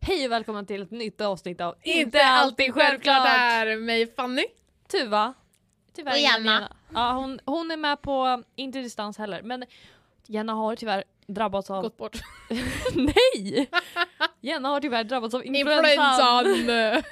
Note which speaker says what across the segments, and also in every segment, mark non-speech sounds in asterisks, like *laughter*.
Speaker 1: Hej och välkomna till ett nytt avsnitt av
Speaker 2: Inte alltid självklart är mig Fanny.
Speaker 1: Tuva. Tyvärr
Speaker 2: Och
Speaker 1: ingen
Speaker 2: Jenna.
Speaker 1: Ja, hon, hon är med på, inte distans heller, men Jenna har tyvärr drabbats av...
Speaker 2: Gått bort.
Speaker 1: *laughs* Nej! Jenna har tyvärr drabbats av influensan.
Speaker 2: Influensan!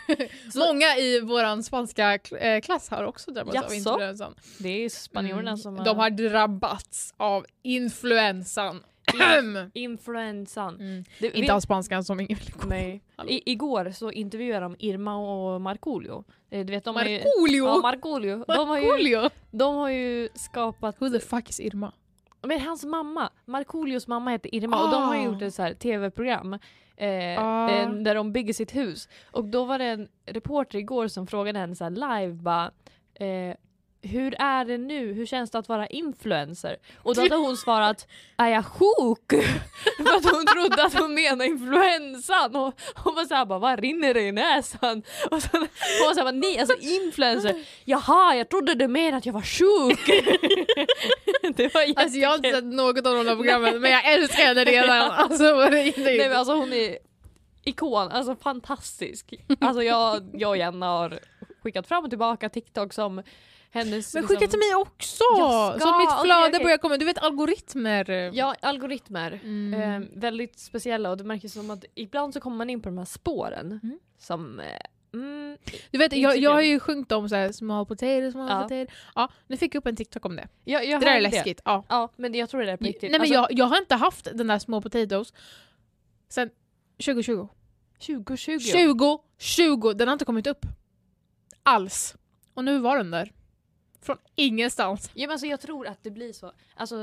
Speaker 1: *laughs*
Speaker 2: Många i vår spanska kl- eh, klass har också drabbats av
Speaker 1: Jaså?
Speaker 2: influensan. Mm.
Speaker 1: Det är spanjorerna som
Speaker 2: De har drabbats av influensan. Ahem.
Speaker 1: influensan.
Speaker 2: Mm.
Speaker 1: Du, vet-
Speaker 2: Inte av spanskan som ingen vill gå på.
Speaker 1: Nej.
Speaker 2: Hallå.
Speaker 1: I, igår så intervjuade de Irma och Markoolio. Eh, Du vet de har ju...
Speaker 2: Markoolio!
Speaker 1: Ja, Markoolio. De har ju,
Speaker 2: Markoolio!
Speaker 1: de har ju skapat...
Speaker 2: Who the fuck is Irma?
Speaker 1: Men hans mamma, Markoolios mamma heter Irma och de har
Speaker 2: Ah.
Speaker 1: gjort ett så här tv-program eh,
Speaker 2: Ah.
Speaker 1: eh, där de bygger sitt hus. Och då var det en reporter igår som frågade henne så här live bara eh, hur är det nu? Hur känns det att vara influencer? Och då hade hon svarat är jag sjuk? *laughs* För att hon trodde att hon menade influensan. Och hon var såhär bara vad rinner det i näsan? Och sen, hon var såhär bara, nej alltså influencer. Jaha jag trodde du menade att jag var sjuk. *laughs* det var jätte-
Speaker 2: Alltså jag har inte sett något av de där programmen men jag älskar
Speaker 1: *laughs*
Speaker 2: henne redan. Alltså, vad det inte
Speaker 1: Nej men alltså hon är ikon, alltså fantastisk. Alltså jag, jag och Jenna har skickat fram och tillbaka TikTok som hennes... liksom,
Speaker 2: Men skicka till mig också!
Speaker 1: Jag ska,
Speaker 2: Så att mitt
Speaker 1: okej,
Speaker 2: flöde
Speaker 1: okej.
Speaker 2: börjar komma. Du vet algoritmer.
Speaker 1: Ja, algoritmer.
Speaker 2: Mm.
Speaker 1: Eh, väldigt speciella och det märks som att ibland så kommer man in på de här spåren
Speaker 2: Mm.
Speaker 1: som... Eh, mm,
Speaker 2: Du vet,
Speaker 1: Det är
Speaker 2: jag,
Speaker 1: inte
Speaker 2: jag
Speaker 1: kul.
Speaker 2: har ju sjungit om så här, small potato, small
Speaker 1: Ja.
Speaker 2: potato. Ja, nu fick jag upp en TikTok om det.
Speaker 1: jag, jag
Speaker 2: Det där är
Speaker 1: hörde
Speaker 2: läskigt. Ja.
Speaker 1: Ja, men det- jag tror det är på
Speaker 2: Nej
Speaker 1: riktigt. Alltså,
Speaker 2: men jag, jag har inte haft den där small potatoes sen 2020.
Speaker 1: 2020.
Speaker 2: 2020! Den har inte kommit upp. Alls. Och nu var den där. Från ingenstans.
Speaker 1: Ja, men alltså, jag tror att det blir så. Alltså,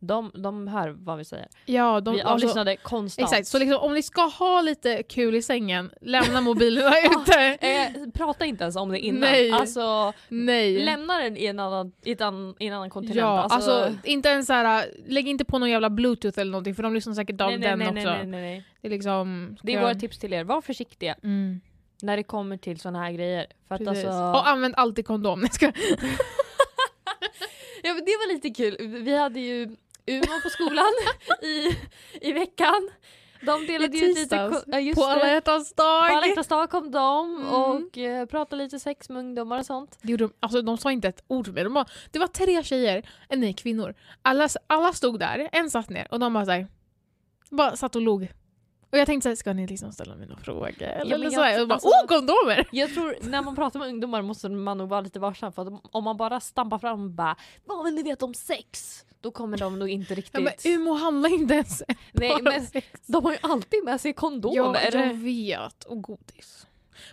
Speaker 1: de, de hör vad vi säger.
Speaker 2: Ja, de,
Speaker 1: vi
Speaker 2: alltså-
Speaker 1: avlyssnade konstant.
Speaker 2: Exakt, så liksom, om ni ska ha lite kul i sängen, *laughs* lämna mobilerna ute.
Speaker 1: Eh, prata inte ens om det innan.
Speaker 2: Nej.
Speaker 1: Alltså,
Speaker 2: Nej.
Speaker 1: Lämna den i en annan, i ett an, i en annan kontinent.
Speaker 2: ja, alltså, inte ens så här, lägg inte på någon jävla bluetooth eller någonting för de lyssnar säkert av
Speaker 1: nej, nej,
Speaker 2: den
Speaker 1: nej,
Speaker 2: också.
Speaker 1: nej, nej, nej, nej.
Speaker 2: Det är liksom...
Speaker 1: Det är
Speaker 2: ja.
Speaker 1: våra tips till er. Var försiktiga
Speaker 2: Mm,
Speaker 1: när det kommer till såna här grejer. För att
Speaker 2: precis.
Speaker 1: alltså,
Speaker 2: Och använd alltid kondom. Nej, ska... äh-
Speaker 1: ja, men det var lite kul. Vi hade ju Umeå på skolan *laughs* i, i veckan. De delade
Speaker 2: I
Speaker 1: ju ut lite...
Speaker 2: tisdags.
Speaker 1: ko- Ja, just
Speaker 2: På alla
Speaker 1: det.
Speaker 2: hjärtans
Speaker 1: På
Speaker 2: dag!
Speaker 1: alla hjärtans dag kom de
Speaker 2: Mm.
Speaker 1: och eh, pratade lite sex med ungdomar och sånt.
Speaker 2: Det gjorde de, alltså, de sa inte ett ord till mig. De bara, det var tre tjejer, eh, nej kvinnor. Alla, alla stod där, en satt ner och de bara, så här, bara satt och log. Och jag tänkte såhär, ska ni liksom ställa mig några frågor? Eller,
Speaker 1: men
Speaker 2: eller så
Speaker 1: jag-
Speaker 2: här. Och bara,
Speaker 1: alltså-
Speaker 2: åh kondomer!
Speaker 1: Jag tror när man pratar med ungdomar måste man nog vara lite varsam för att om man bara stampar fram och bara “Vad vill ni veta om sex?” då kommer de nog inte riktigt...
Speaker 2: Ja, men Umeå handlar inte ens *laughs*
Speaker 1: Nej,
Speaker 2: bara
Speaker 1: men
Speaker 2: sex.
Speaker 1: De har ju alltid med sig
Speaker 2: Ja,
Speaker 1: kondomer.
Speaker 2: jag vet. Och godis.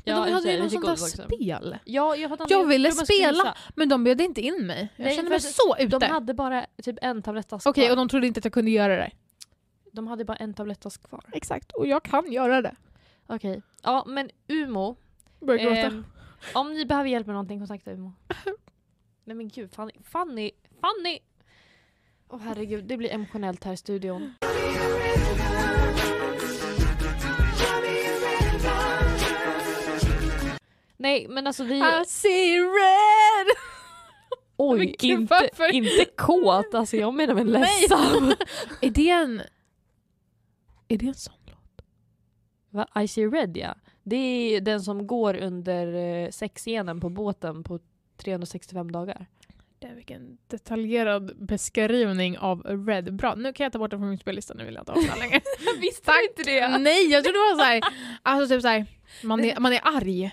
Speaker 2: Men
Speaker 1: Ja,
Speaker 2: de hade
Speaker 1: ursäkta,
Speaker 2: ju
Speaker 1: jag
Speaker 2: något
Speaker 1: fick
Speaker 2: sånt där
Speaker 1: godis också.
Speaker 2: spel.
Speaker 1: Ja, jag, fattar inte.
Speaker 2: Jag ville
Speaker 1: tror man skulle
Speaker 2: spela.
Speaker 1: gissa.
Speaker 2: Men de bjöd inte in mig. Jag
Speaker 1: Nej,
Speaker 2: kände
Speaker 1: för
Speaker 2: mig
Speaker 1: att
Speaker 2: så ute.
Speaker 1: De
Speaker 2: Okej,
Speaker 1: hade bara typ en tablettask
Speaker 2: och
Speaker 1: kvar.
Speaker 2: de trodde inte att jag kunde göra det.
Speaker 1: De hade bara en tablettask kvar.
Speaker 2: Exakt, och jag kan göra det.
Speaker 1: Okej. Ja, men Umo.
Speaker 2: Börjar gråta.
Speaker 1: ehm, om ni behöver hjälp med någonting, kontakta
Speaker 2: *laughs*
Speaker 1: Umo. Nej men gud, Fanny. Fanny! Fanny! Åh herregud, det blir emotionellt här i studion. Nej men alltså vi...
Speaker 2: I *laughs* see red! Men
Speaker 1: Oj,
Speaker 2: gud,
Speaker 1: inte,
Speaker 2: varför?
Speaker 1: inte kåt, alltså jag menar
Speaker 2: *laughs*
Speaker 1: väl ledsam.
Speaker 2: är det en... Är det en sån låt?
Speaker 1: Va? I see red ja. Det är den som går under eh, sexscenen på båten på 365 dagar.
Speaker 2: Det är vilken detaljerad beskrivning av red. Bra, nu kan jag ta bort den från min spellista. Nu vill jag inte ha den här *laughs* längre.
Speaker 1: Visste
Speaker 2: Tack.
Speaker 1: inte det?
Speaker 2: Nej, jag trodde det var såhär... Alltså typ såhär... Man är, man är arg.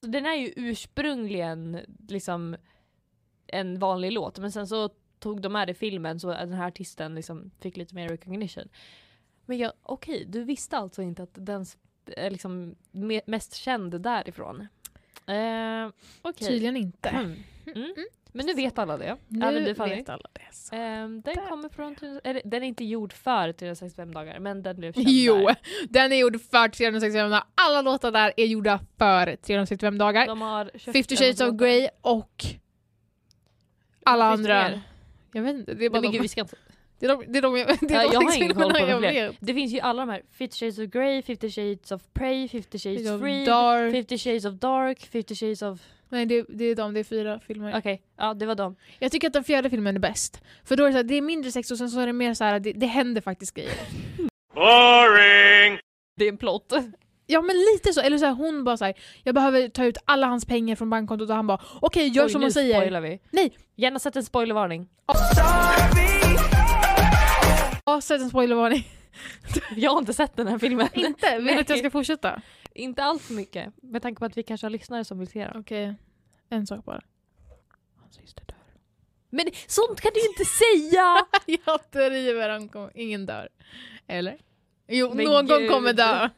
Speaker 1: Den är ju ursprungligen liksom en vanlig låt men sen så tog de med det i filmen så den här artisten liksom fick lite mer recognition. Men jag, okej, du visste alltså inte att den sp- är liksom me- mest känd därifrån? Eh, okej.
Speaker 2: Tydligen inte.
Speaker 1: Mm. Mm. Men nu vet alla det. Även
Speaker 2: Nu
Speaker 1: du Fanny.
Speaker 2: vet alla det. Så.
Speaker 1: Ehm, den
Speaker 2: Där.
Speaker 1: kommer från, tusen- eller, den är inte gjord för 365 dagar men den blev känd
Speaker 2: Jo,
Speaker 1: där.
Speaker 2: den är gjord för 365 dagar. Alla låtar där är gjorda för 365 dagar.
Speaker 1: De har köpt
Speaker 2: 50
Speaker 1: den
Speaker 2: shades
Speaker 1: och
Speaker 2: of
Speaker 1: sånt.
Speaker 2: Grey och alla
Speaker 1: Finns det
Speaker 2: andra.
Speaker 1: mer?
Speaker 2: Jag vet inte, det
Speaker 1: Nej,
Speaker 2: är bara
Speaker 1: men
Speaker 2: de.
Speaker 1: gud, vi ska inte.
Speaker 2: Det är de, det är de, jag- det
Speaker 1: Ja,
Speaker 2: är de
Speaker 1: jag har
Speaker 2: liksom
Speaker 1: ingen koll på
Speaker 2: jag
Speaker 1: de fler.
Speaker 2: vet.
Speaker 1: Det finns ju alla de här 50 shades of Grey, 50 shades of Prey, 50
Speaker 2: Det
Speaker 1: shades
Speaker 2: är
Speaker 1: of
Speaker 2: de
Speaker 1: Free,
Speaker 2: Dark.
Speaker 1: 50 shades of Dark, 50 shades of...
Speaker 2: Nej, det, det är de, det är fyra filmer.
Speaker 1: Okej, ja det var *laughs* dem.
Speaker 2: Jag tycker att den fjärde filmen är bäst. För då är det, så här, det är mindre sex och sen så är det mer så här, det, det händer faktiskt grejer.
Speaker 3: Boring.
Speaker 1: Det är en plott.
Speaker 2: Ja men lite så, eller så här, hon bara såhär, jag behöver ta ut alla hans pengar från bankkontot och han bara okej gör
Speaker 1: Oj,
Speaker 2: som
Speaker 1: nu
Speaker 2: hon säger.
Speaker 1: spoilar vi.
Speaker 2: Nej.
Speaker 1: Gärna sätt en spoilervarning.
Speaker 2: Ja, sätt en spoilervarning.
Speaker 1: Jag har inte sett den här filmen.
Speaker 2: Inte? *laughs* Vill du att jag
Speaker 1: Nej.
Speaker 2: ska fortsätta?
Speaker 1: *laughs* inte allt för mycket. Med tanke på att vi kanske har lyssnare som vill se den.
Speaker 2: Okej, en sak bara. Hans syster dör.
Speaker 1: Men sånt kan du inte *laughs* säga!
Speaker 2: *laughs* jag driver, han kommer, ingen dör. Eller? Jo,
Speaker 1: Men
Speaker 2: någon
Speaker 1: gud.
Speaker 2: kommer dö.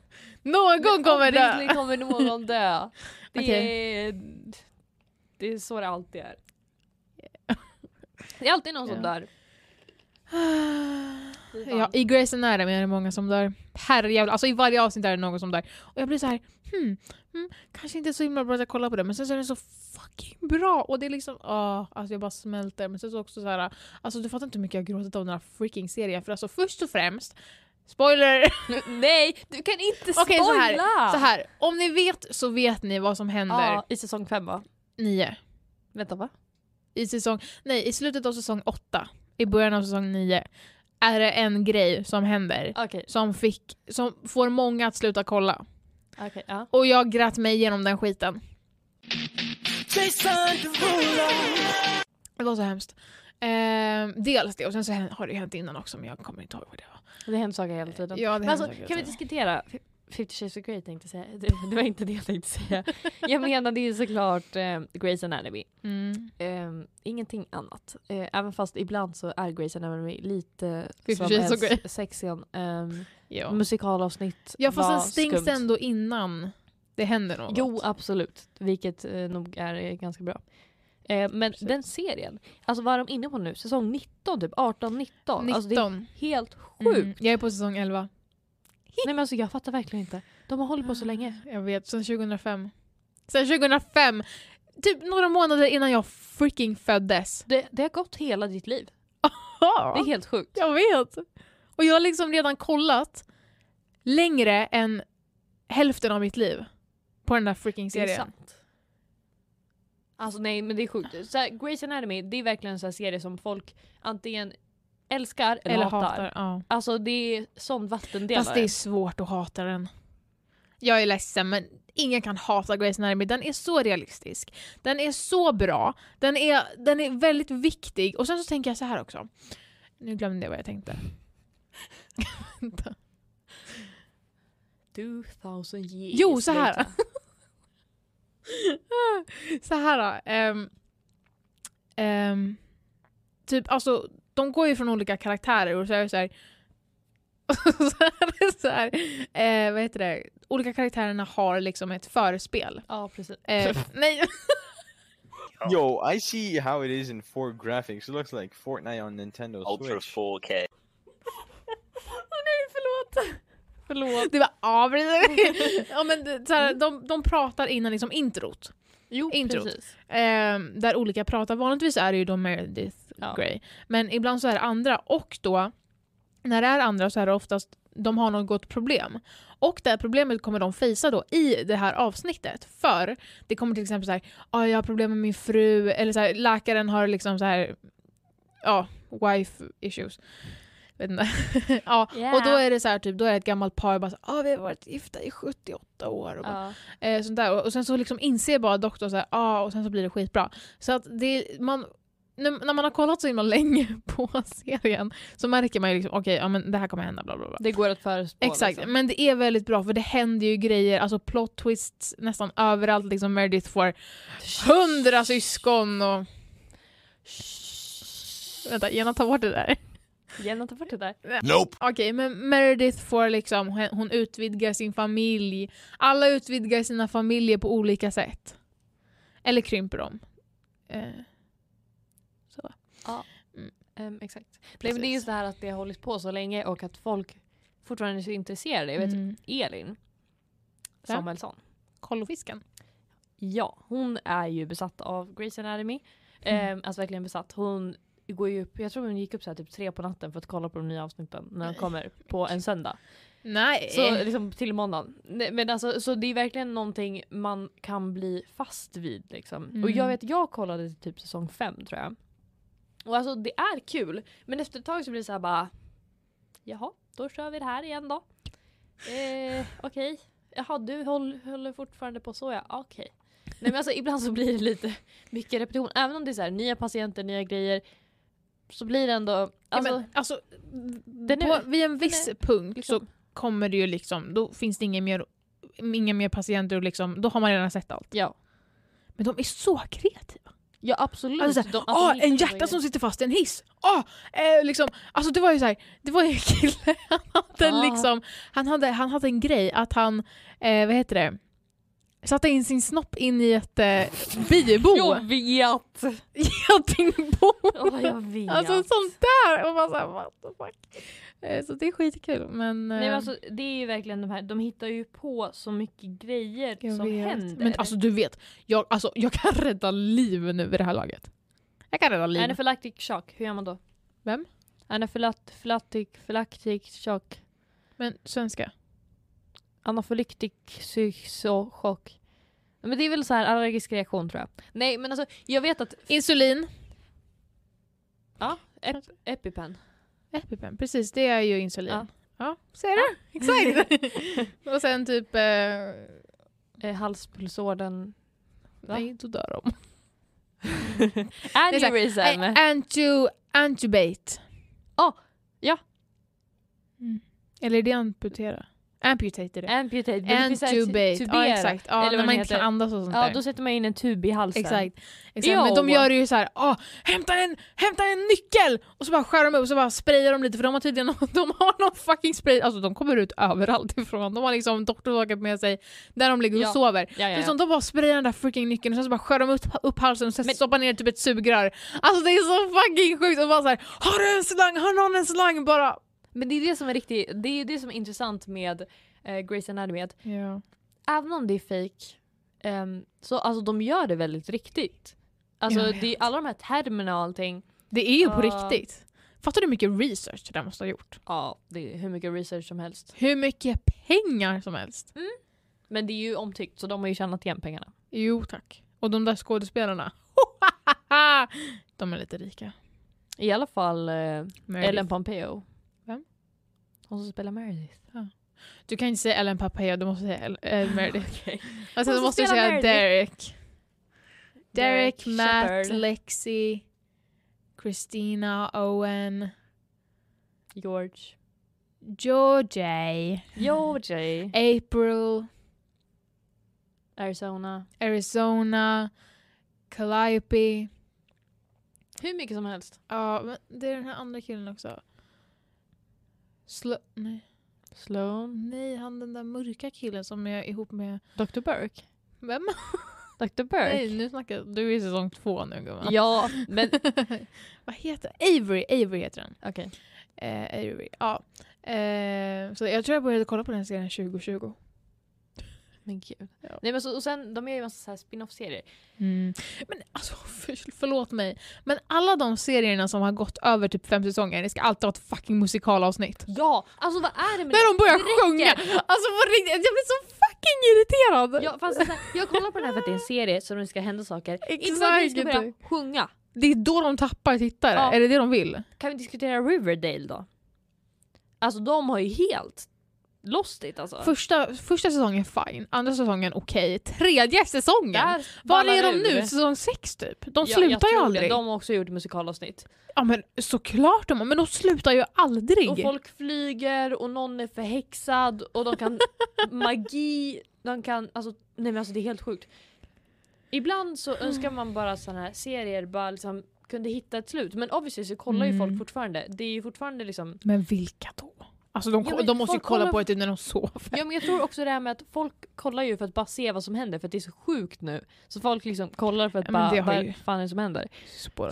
Speaker 2: Någon kommer
Speaker 1: Obviously
Speaker 2: dö.
Speaker 1: kommer någon *laughs* dö. Det,
Speaker 2: Okej.
Speaker 1: är, det är så det alltid *laughs* är. Det är alltid någon som
Speaker 2: Ja.
Speaker 1: dör.
Speaker 2: *sighs* Ja, I Grace Anatomy är det många som dör. Herrejävlar, alltså i varje avsnitt är det någon som dör. Och jag blir så här, hmm, hmm kanske inte så himla bra att jag kollar på det, men sen så är det så fucking bra. Och det är liksom, ah, alltså jag bara smälter. Men sen så också så här, alltså du fattar inte hur mycket jag har gråtit av den här freaking serien. För alltså först och främst, spoiler!
Speaker 1: Nej, du kan inte spoila!
Speaker 2: Okej, så här, Så här, om ni vet så vet ni vad som händer
Speaker 1: Ja, I säsong fem va?
Speaker 2: nio.
Speaker 1: Vänta va?
Speaker 2: I säsong, nej, i slutet av säsong åtta, i början av säsong nio, är det en grej som händer.
Speaker 1: Okej,
Speaker 2: som, fick, som får många att sluta kolla.
Speaker 1: okej. ja.
Speaker 2: Och jag grät mig igenom den skiten. Det var så hemskt. Eh, dels det, och sen så hä- har det ju hänt innan också men jag kommer inte ihåg vad det var.
Speaker 1: Det händer saker hela tiden.
Speaker 2: Ja, det
Speaker 1: Men
Speaker 2: hände
Speaker 1: alltså,
Speaker 2: säkert
Speaker 1: kan vi
Speaker 2: också.
Speaker 1: diskutera 50 shades of Grey tänkte jag säga. *laughs* Det, det var inte det jag tänkte *laughs* säga. Jag menade ju såklart eh, Grey's Anatomy.
Speaker 2: Mm.
Speaker 1: Eh, ingenting annat. Eh, även fast ibland så är Grey's Anatomy lite
Speaker 2: 50
Speaker 1: som
Speaker 2: Shades of
Speaker 1: en
Speaker 2: Grey.
Speaker 1: s- sexscen. Ehm,
Speaker 2: Ja.
Speaker 1: Musikalavsnitt
Speaker 2: ja fast
Speaker 1: var
Speaker 2: den stängs
Speaker 1: skumt.
Speaker 2: ändå innan det händer något.
Speaker 1: Jo absolut, vilket eh, nog är eh, ganska bra. Eh, men
Speaker 2: Precis.
Speaker 1: den serien, alltså vad är de inne på nu? Säsong 19 typ, 18, 19.
Speaker 2: 19.
Speaker 1: Alltså, det är helt sjukt.
Speaker 2: mm. Jag är på säsong 11.
Speaker 1: Nej men alltså jag fattar verkligen inte. De har hållit på så länge.
Speaker 2: Jag vet, sen 2005. Sen 2005! Typ några månader innan jag freaking föddes.
Speaker 1: Det, det har gått hela ditt liv. Det är helt sjukt.
Speaker 2: Jag vet! Och jag har liksom redan kollat längre än hälften av mitt liv på den där freaking
Speaker 1: Det är
Speaker 2: serien.
Speaker 1: sant. Alltså nej men det är sjukt. Så här, Grey's Anatomy det är verkligen en sån här serie som folk antingen älskar eller, hatar.
Speaker 2: Ja.
Speaker 1: Alltså det är sån vattendelare.
Speaker 2: Fast det är svårt att hata den. Jag är ledsen men ingen kan hata Grey's Anatomy. Den är så realistisk. Den är så bra. Den är, den är väldigt viktig. Och sen så tänker jag så här också. Nu glömde jag vad jag tänkte. Vänta.
Speaker 1: 2000 years
Speaker 2: Jo, så här.
Speaker 1: later.
Speaker 2: *laughs* så här då. ehm, ehm, typ, alltså, de går ju från olika karaktärer och så är det så här... *laughs* så är det så här eh, vad heter det? Olika karaktärerna har liksom ett förspel.
Speaker 1: Ja precis.
Speaker 2: Eh, nej, *laughs*
Speaker 4: Yo, I see how it is in four graphics. It looks like Fortnite on Nintendo
Speaker 3: Ultra
Speaker 4: Switch.
Speaker 3: 4K.
Speaker 2: förlåt.
Speaker 1: Förlåt.
Speaker 2: Det var avbryter. ja, men det- så här, de, de pratar innan liksom introt.
Speaker 1: Jo
Speaker 2: Intro.
Speaker 1: precis.
Speaker 2: Ehm, där olika pratar. Vanligtvis är det ju då Meredith
Speaker 1: Ja.
Speaker 2: Grey. Men ibland så är det andra och då när det är andra så är det oftast de har något problem. Och det här problemet kommer de fejsa då i det här avsnittet. För det kommer till exempel så här, ah, jag har problem med min fru, eller så här, läkaren har liksom så här, ja, wife issues. Vet inte. *laughs* ja, och då är det så här, typ, då är det ett gammalt par bara så, ah, vi har varit gifta i 78 år. Och bara,
Speaker 1: Ja.
Speaker 2: Eh, sånt där. Och, och sen så liksom inser bara doktorn såhär, ah, och sen så blir det skitbra. Så att det, man, när, när man har kollat så himla länge *laughs* på serien så märker man ju liksom, okej, ja men det här kommer hända, bla bla bla.
Speaker 1: Det går att förutspå.
Speaker 2: Exakt,
Speaker 1: liksom.
Speaker 2: men det är väldigt bra för det händer ju grejer, alltså plot twists nästan överallt. Liksom Meredith får hundra syskon och... Vänta, gärna ta bort det där.
Speaker 1: Jenna ta bort det där.
Speaker 4: Nope.
Speaker 2: Okej, men Meredith får liksom, hon- hon utvidgar sin familj. Alla utvidgar sina familjer på olika sätt. Eller krymper dem. Eh,
Speaker 1: Ehm, exakt. Nej, men det är just
Speaker 2: Precis.
Speaker 1: det här att det har hållit på så länge och att folk fortfarande är så intresserade. Jag vet
Speaker 2: Mm.
Speaker 1: Elin
Speaker 2: Ja.
Speaker 1: Samuelsson.
Speaker 2: Kollofisken.
Speaker 1: Ja, hon är ju besatt av Grey's Anatomy. Mm. alltså verkligen besatt. Hon går ju upp, jag tror hon gick upp så här typ tre på natten för att kolla på de nya avsnitten när de
Speaker 2: Nej.
Speaker 1: kommer på en söndag.
Speaker 2: Nej.
Speaker 1: Så liksom till måndagen. Nej, Men alltså, så det är verkligen någonting man kan bli fast vid liksom.
Speaker 2: Mm.
Speaker 1: Och jag vet, jag kollade typ säsong fem tror jag. Och alltså det är kul, men efter ett tag så blir det så här bara Jaha, då kör vi det här igen då. Eh, *laughs* Okej. Jaha, du håll, håller fortfarande på så ja. Ah, Okej. Nej men alltså ibland så blir det lite *laughs* mycket repetition. Även om det är så här, nya patienter, nya grejer. Så blir det ändå... Alltså,
Speaker 2: ja, men, alltså
Speaker 1: Den är-
Speaker 2: på, vid en viss
Speaker 1: den
Speaker 2: punkt
Speaker 1: liksom-
Speaker 2: så kommer det ju liksom, då finns det inga mer, inga mer patienter och liksom, då har man redan sett allt.
Speaker 1: ja.
Speaker 2: Men de är så kreativa.
Speaker 1: ja absolut.
Speaker 2: Alltså, såhär,
Speaker 1: De- alltså, de
Speaker 2: ah,
Speaker 1: hittar
Speaker 2: en
Speaker 1: på
Speaker 2: hjärta
Speaker 1: grejer.
Speaker 2: som sitter fast i en hiss! Ah, eh, liksom. Alltså det var ju såhär, det var ju en kille, *laughs* han hade
Speaker 1: Ah.
Speaker 2: liksom, han hade, han hade en grej att han, eh, vad heter det, satte in sin snopp in i ett eh, bibo.
Speaker 1: Jag *laughs* vet!
Speaker 2: Getingbo!
Speaker 1: Åh, jag vet.
Speaker 2: *laughs* Alltså sånt där! Och man såhär, what the fuck. Eh, Så det är skitkul men...
Speaker 1: Nej, men
Speaker 2: eh,
Speaker 1: alltså, det är ju verkligen de här, de hittar ju på så mycket grejer
Speaker 2: jag
Speaker 1: som
Speaker 2: vet.
Speaker 1: händer.
Speaker 2: Men alltså du vet, jag, alltså, jag kan rädda liv nu vid det här laget. Jag kan rädda liv.
Speaker 1: Anaphylactic shock, hur gör man då?
Speaker 2: Vem?
Speaker 1: Anaphylactic, phylactic shock.
Speaker 2: Men svenska?
Speaker 1: Anafylactic psy- chock. Men det är väl så här allergisk reaktion tror jag. Nej men alltså jag vet att
Speaker 2: Insulin.
Speaker 1: ep Epipen.
Speaker 2: Epipen, precis det är ju insulin.
Speaker 1: Ja.
Speaker 2: Ja, ser du? Exakt! och sen typ... Eh,
Speaker 1: *laughs* Eh,
Speaker 2: *laughs*
Speaker 1: halspulsådern. Va?
Speaker 2: nej, då dör de.
Speaker 1: Aneurysm.
Speaker 2: Nej, Eh, Antu, antubate.
Speaker 1: Ah, ja.
Speaker 2: Mm. Eller är det amputera? Amputate är det.
Speaker 1: Amputate. men Eh, det finns så här
Speaker 2: Antubate,
Speaker 1: tubera,
Speaker 2: ja exakt. Ja,
Speaker 1: eller vad den
Speaker 2: när man inte
Speaker 1: heter.
Speaker 2: kan andas och sånt
Speaker 1: Ja
Speaker 2: där.
Speaker 1: då sätter man in en tub i halsen.
Speaker 2: Exakt. exakt.
Speaker 1: Ja,
Speaker 2: Men de
Speaker 1: och-
Speaker 2: gör ju så här, ah, hämta, en, hämta en nyckel! Och så bara skär de upp och så bara sprayar de lite för de har tydligen *laughs* de har någon fucking spray, alltså de kommer ut överallt *laughs* ifrån. De har liksom doktorvågat med sig där de ligger och
Speaker 1: Ja.
Speaker 2: sover.
Speaker 1: Ja, ja,
Speaker 2: Det är
Speaker 1: ja.
Speaker 2: som de bara sprayar den där freaking nyckeln och sen så bara skär de upp, upp halsen och sen
Speaker 1: Men-
Speaker 2: stoppar ner typ ett sugrör. Alltså det är så fucking sjukt! Och bara så här, har du en slang? Har någon en slang? Bara...
Speaker 1: Men det är det som är riktigt, det är det som är intressant med eh, Grey's Anatomy att
Speaker 2: Ja.
Speaker 1: även om det är fake ehm, så alltså de gör det väldigt riktigt. Alltså
Speaker 2: Jag vet.
Speaker 1: det är alla de här termerna och allting.
Speaker 2: Det är ju på
Speaker 1: Ja.
Speaker 2: riktigt. Fattar du hur mycket research det där måste ha gjort?
Speaker 1: Ja, det är hur mycket research som helst.
Speaker 2: Hur mycket pengar som helst.
Speaker 1: Men det är ju omtyckt så de har ju tjänat igen pengarna.
Speaker 2: Jo tack. Och de där skådespelarna. *laughs* de är lite rika.
Speaker 1: I alla fall eh,
Speaker 2: Meredith.
Speaker 1: Ellen Pompeo.
Speaker 2: Vem?
Speaker 1: Hon som spelar *laughs* Meredith.
Speaker 2: Du kan inte säga Ellen Papaya, du måste säga El
Speaker 1: *laughs*
Speaker 2: eh, Meredith.
Speaker 1: Okej.
Speaker 2: Alltså,
Speaker 1: Hon
Speaker 2: du
Speaker 1: som
Speaker 2: måste
Speaker 1: spelar
Speaker 2: säga
Speaker 1: Meredith.
Speaker 2: Derek. Derek, Matt,
Speaker 1: Shepard,
Speaker 2: Lexi, Christina, Owen,
Speaker 1: George.
Speaker 2: Georgie,
Speaker 1: Georgie.
Speaker 2: April,
Speaker 1: Arizona.
Speaker 2: Arizona, Calliope.
Speaker 1: Hur mycket som helst.
Speaker 2: Ja, men det är den här andra killen också. Sl nej.
Speaker 1: Sloan.
Speaker 2: nej, han den där mörka killen som är ihop med...
Speaker 1: Dr. Burke.
Speaker 2: Vem?
Speaker 1: Dr. Burke.
Speaker 2: Nej, nu snackar Du är i säsong två nu gumman. *laughs*
Speaker 1: Ja, men
Speaker 2: Vad heter Avery, Avery heter den.
Speaker 1: okej.
Speaker 2: Eh, Avery, ja. Eh, så jag tror jag började kolla på den serien 2020.
Speaker 1: Men gud.
Speaker 2: Ja.
Speaker 1: Nej men så, och sen, de gör ju massa så här spin-off-serier.
Speaker 2: Men alltså, för, förlåt mig. Men alla de serierna som har gått över typ fem säsonger, det ska alltid ha ett fucking musikalavsnitt.
Speaker 1: Ja! Alltså vad är det med
Speaker 2: Där de börjar sjunga!
Speaker 1: det räcker.
Speaker 2: Alltså på riktigt, jag blir så fucking irriterad!
Speaker 1: Ja,
Speaker 2: *laughs*
Speaker 1: fast det är så här, jag kollar på den här för att det är en serie så det ska hända saker. Inte för att vi ska
Speaker 2: Exakt!
Speaker 1: börja sjunga.
Speaker 2: Det är då de tappar tittare,
Speaker 1: Ja.
Speaker 2: är det det de vill?
Speaker 1: Kan vi diskutera Riverdale då? Alltså de har ju helt lost it alltså.
Speaker 2: Första, första säsongen fine, andra säsongen okej, tredje säsongen! Var
Speaker 1: ballar
Speaker 2: är de
Speaker 1: ur.
Speaker 2: nu? Säsong 6 typ? De
Speaker 1: Ja, jag
Speaker 2: slutar ju
Speaker 1: tror det.
Speaker 2: aldrig.
Speaker 1: De har också gjort musikalavsnitt.
Speaker 2: Ja men såklart de har, men de slutar ju aldrig.
Speaker 1: Och folk flyger och någon är förhäxad och de
Speaker 2: *laughs*
Speaker 1: kan magi, de kan, alltså nej men alltså det är helt sjukt. Ibland så
Speaker 2: Mm.
Speaker 1: önskar man bara sådana här serier bara liksom kunde hitta ett slut men obviously så kollar ju
Speaker 2: Mm.
Speaker 1: folk fortfarande. Det är ju fortfarande liksom
Speaker 2: Men vilka då? Alltså de,
Speaker 1: Ja,
Speaker 2: ko-
Speaker 1: men
Speaker 2: de måste ju
Speaker 1: folk
Speaker 2: kolla
Speaker 1: kollar-
Speaker 2: på det typ när de sover.
Speaker 1: Ja men jag tror också det här med att folk kollar ju för att bara se vad som händer för att det är så sjukt nu. Så folk liksom kollar för att
Speaker 2: Ja, men
Speaker 1: bara,
Speaker 2: det har
Speaker 1: vad
Speaker 2: ju-
Speaker 1: fan är det som händer?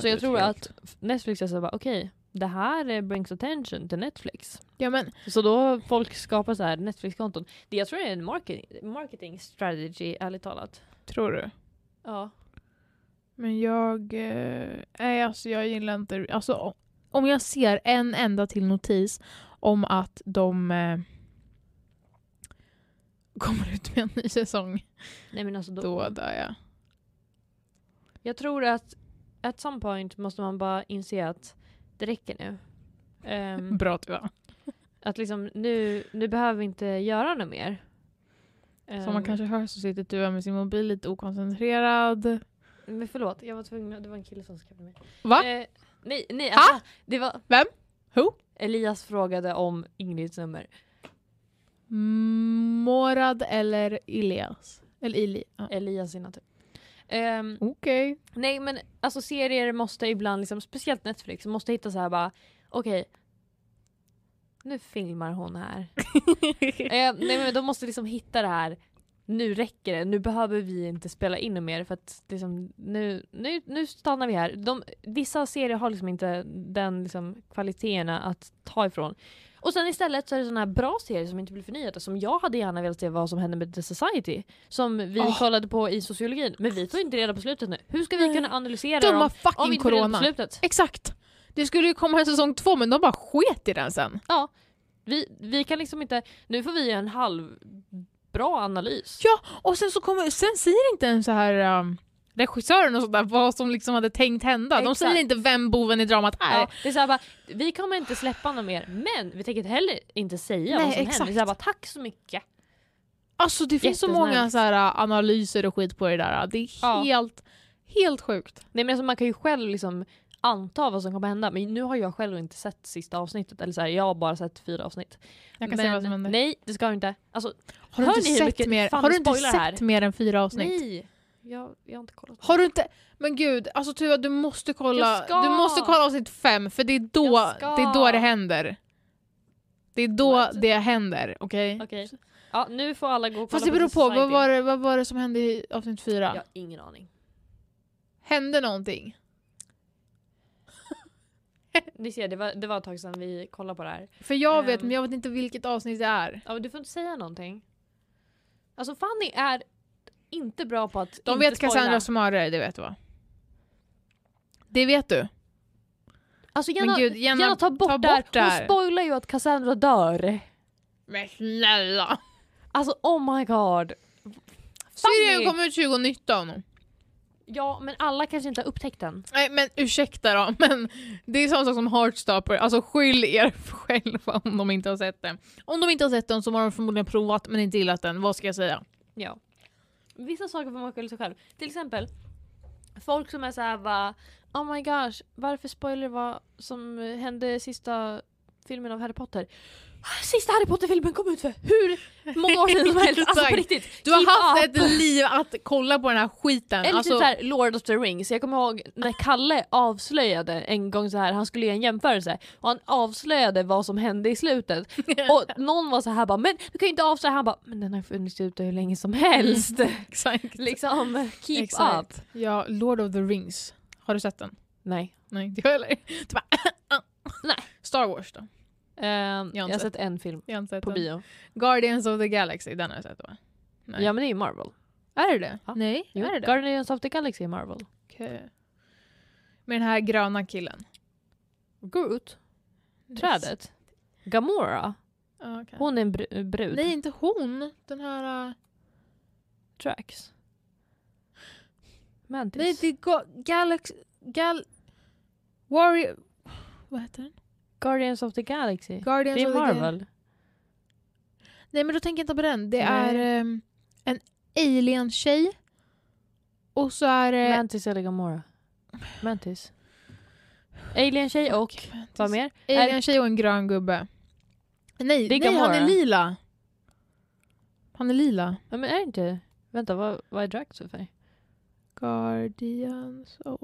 Speaker 1: Så jag tror att Netflix är så bara okej, det här eh, brings attention till Netflix.
Speaker 2: Ja men
Speaker 1: Så då folk skapar så här Netflix-konton. Det jag tror är en marketing, marketing strategy ärligt talat.
Speaker 2: tror du?
Speaker 1: Ja.
Speaker 2: Men jag... Eh, nej, alltså jag gillar inte... Alltså, o- om jag ser en enda till notis om att de eh, *laughs* kommer ut med en ny säsong,
Speaker 1: Nej men alltså då,
Speaker 2: då dör jag.
Speaker 1: Jag tror att at some point måste man bara inse att det räcker nu. Ehm,
Speaker 2: Bra att du var.
Speaker 1: att liksom nu, nu behöver vi inte göra något mer.
Speaker 2: Som man
Speaker 1: Ehm,
Speaker 2: kanske hör så sitter du här med sin mobil lite okoncentrerad.
Speaker 1: Men förlåt, jag var tvungen, det var en kille som skrev till mig.
Speaker 2: Va?
Speaker 1: Eh, nej, nej,
Speaker 2: Ha?
Speaker 1: alltså, det var...
Speaker 2: Vem? Who?
Speaker 1: Elias frågade om Ingrids nummer.
Speaker 2: Mm, Morad eller Elias? Eller Ili? Ja.
Speaker 1: Elias i natur. Ehm,
Speaker 2: Okej.
Speaker 1: nej men alltså serier måste ibland, liksom, speciellt Netflix, måste hitta så här bara okej, nu filmar hon
Speaker 2: *laughs*
Speaker 1: här. eh, nej men de måste liksom hitta det här, nu räcker det, nu behöver vi inte spela in något mer för att liksom, nu, nu, nu stannar vi här. De, vissa serier har liksom inte den liksom, kvaliteterna att ta ifrån. Och sen istället så är det sådana här bra serier som inte blir förnyade som jag hade gärna velat se vad som hände med The Society som vi
Speaker 2: Åh.
Speaker 1: kollade på i sociologin men vi tog inte reda på slutet nu. Hur ska vi kunna analysera
Speaker 2: Dumma
Speaker 1: dem om vi
Speaker 2: fucking
Speaker 1: inte får reda på
Speaker 2: corona.
Speaker 1: slutet?
Speaker 2: Exakt. Det skulle ju komma en säsong två men de bara sket i den sen.
Speaker 1: Vi, vi kan liksom inte, nu får vi göra en halv bra analys.
Speaker 2: Ja, och sen så kommer, sen säger inte ens så här um, regissören och sådär vad som liksom hade tänkt hända. De
Speaker 1: Exakt.
Speaker 2: säger inte vem boven i dramat är.
Speaker 1: Ja, det är så här bara, vi kommer inte släppa något mer, men vi tänker heller inte säga
Speaker 2: Nej,
Speaker 1: vad som
Speaker 2: exakt.
Speaker 1: händer. Det är så här bara, tack så mycket.
Speaker 2: Alltså det finns så många
Speaker 1: Jättesnällt.
Speaker 2: så här uh, analyser och skit på det där. uh. Det är
Speaker 1: Ja.
Speaker 2: helt, helt sjukt.
Speaker 1: Nej, men alltså, man kan ju själv liksom anta vad som kommer hända, men nu har jag själv inte sett sista avsnittet. Eller så här, jag har bara sett fyra avsnitt.
Speaker 2: Jag kan
Speaker 1: men,
Speaker 2: säga vad som händer.
Speaker 1: Nej, det ska du inte. Alltså,
Speaker 2: har du
Speaker 1: hör
Speaker 2: inte
Speaker 1: ni hur
Speaker 2: sett,
Speaker 1: mycket
Speaker 2: mer,
Speaker 1: fan
Speaker 2: har du
Speaker 1: vi
Speaker 2: inte
Speaker 1: spoilar
Speaker 2: sett
Speaker 1: här?
Speaker 2: mer än fyra avsnitt?
Speaker 1: nej. Jag, jag har inte kollat.
Speaker 2: Har du inte... Men gud, alltså Tuva du måste kolla.
Speaker 1: Jag ska.
Speaker 2: Du måste kolla avsnitt fem för det är då
Speaker 1: Jag ska.
Speaker 2: det, är då det händer. Det är då
Speaker 1: What?
Speaker 2: det händer, okej?
Speaker 1: Okej. Ja, nu får alla gå och
Speaker 2: Fast det
Speaker 1: kolla
Speaker 2: beror
Speaker 1: The
Speaker 2: på, vad
Speaker 1: Society.
Speaker 2: var det, vad var det som hände i avsnitt fyra?
Speaker 1: Jag har ingen aning.
Speaker 2: Hände någonting?
Speaker 1: Ni ser, det var, det var ett tag sedan vi kollade på det här.
Speaker 2: För jag vet,
Speaker 1: Ehm.
Speaker 2: men jag vet inte vilket avsnitt det är.
Speaker 1: Ja, men du får inte säga någonting. Alltså Fanny är inte bra på att
Speaker 2: De
Speaker 1: inte
Speaker 2: vet Cassandra
Speaker 1: spoila.
Speaker 2: och Samara, det vet du va? Det vet du.
Speaker 1: Alltså
Speaker 2: Men
Speaker 1: gärna,
Speaker 2: gud, gärna
Speaker 1: gärna, ta bort,
Speaker 2: ta
Speaker 1: det här.
Speaker 2: bort det här.
Speaker 1: Hon spoilar ju att Cassandra dör.
Speaker 2: Men snälla!
Speaker 1: Alltså oh my god.
Speaker 2: Syrien
Speaker 1: Fanny!
Speaker 2: kom ut 2019.
Speaker 1: Ja men alla kanske inte har upptäckt den.
Speaker 2: Nej men ursäkta då, *laughs* men det är samma sak som Heartstopper, alltså skyll er *laughs* själva om de inte har sett den. Om de inte har sett den så har de förmodligen provat men inte gillat den, vad ska jag säga?
Speaker 1: Ja. Vissa saker får man skylla sig själv. Till exempel folk som är så här va Oh my gosh, varför spoiler vad som hände i sista filmen av Harry Potter? Sista Harry Potter-filmen kom ut för hur många år sedan som
Speaker 2: *laughs*
Speaker 1: helst! Alltså på
Speaker 2: Exakt.
Speaker 1: riktigt!
Speaker 2: Du har
Speaker 1: keep
Speaker 2: haft
Speaker 1: up.
Speaker 2: ett liv att kolla på den här skiten.
Speaker 1: Eller
Speaker 2: alltså,
Speaker 1: typ såhär Lord of the Rings, jag kommer ihåg när Kalle avslöjade en gång så här han skulle göra en jämförelse och han avslöjade vad som hände i
Speaker 2: *laughs*
Speaker 1: slutet och någon var så här bara men du kan ju inte avslöja, han bara men den har funnits ute hur länge som
Speaker 2: *laughs*
Speaker 1: helst.
Speaker 2: exakt.
Speaker 1: liksom keep up.
Speaker 2: Exakt. Ja, Lord of the Rings. Har du sett den?
Speaker 1: Nej.
Speaker 2: Nej, inte jag heller. *laughs* Du bara, ah.
Speaker 1: Nej.
Speaker 2: Star Wars då?
Speaker 1: Ehm, jag har
Speaker 2: inte
Speaker 1: sett en film
Speaker 2: Jag har inte sett
Speaker 1: på
Speaker 2: den.
Speaker 1: bio.
Speaker 2: Guardians of the Galaxy, den har jag sett va? Nej.
Speaker 1: Ja men det är ju Marvel.
Speaker 2: Är det det?
Speaker 1: Ja.
Speaker 2: Nej,
Speaker 1: Jo,
Speaker 2: är det det?
Speaker 1: Guardians of the Galaxy är Marvel.
Speaker 2: Okej. Med den här gröna killen.
Speaker 1: Groot, trädet. Gamora,
Speaker 2: Ja, okej.
Speaker 1: hon är en br- brud.
Speaker 2: Nej, inte hon. Den här... Uh...
Speaker 1: Drax. Mantis.
Speaker 2: Nej, det är Ga- Galax... Gal... Warrior... Vad heter den?
Speaker 1: Guardians of the Galaxy.
Speaker 2: Guardians
Speaker 1: Det är
Speaker 2: of the Gal-
Speaker 1: Marvel.
Speaker 2: Nej, men då tänker jag inte på den. Det
Speaker 1: Nej.
Speaker 2: är ehm, en alien-tjej. Och så är det...
Speaker 1: Mantis eller Gamora? Mantis. Alien-tjej och vad mer?
Speaker 2: Alien-tjej och en grön gubbe. Nej,
Speaker 1: Det är
Speaker 2: nej han
Speaker 1: Gamora.
Speaker 2: är lila. Han är lila.
Speaker 1: Ja, men är det inte? Vänta, vad, vad är Drax för färg?
Speaker 2: Guardians of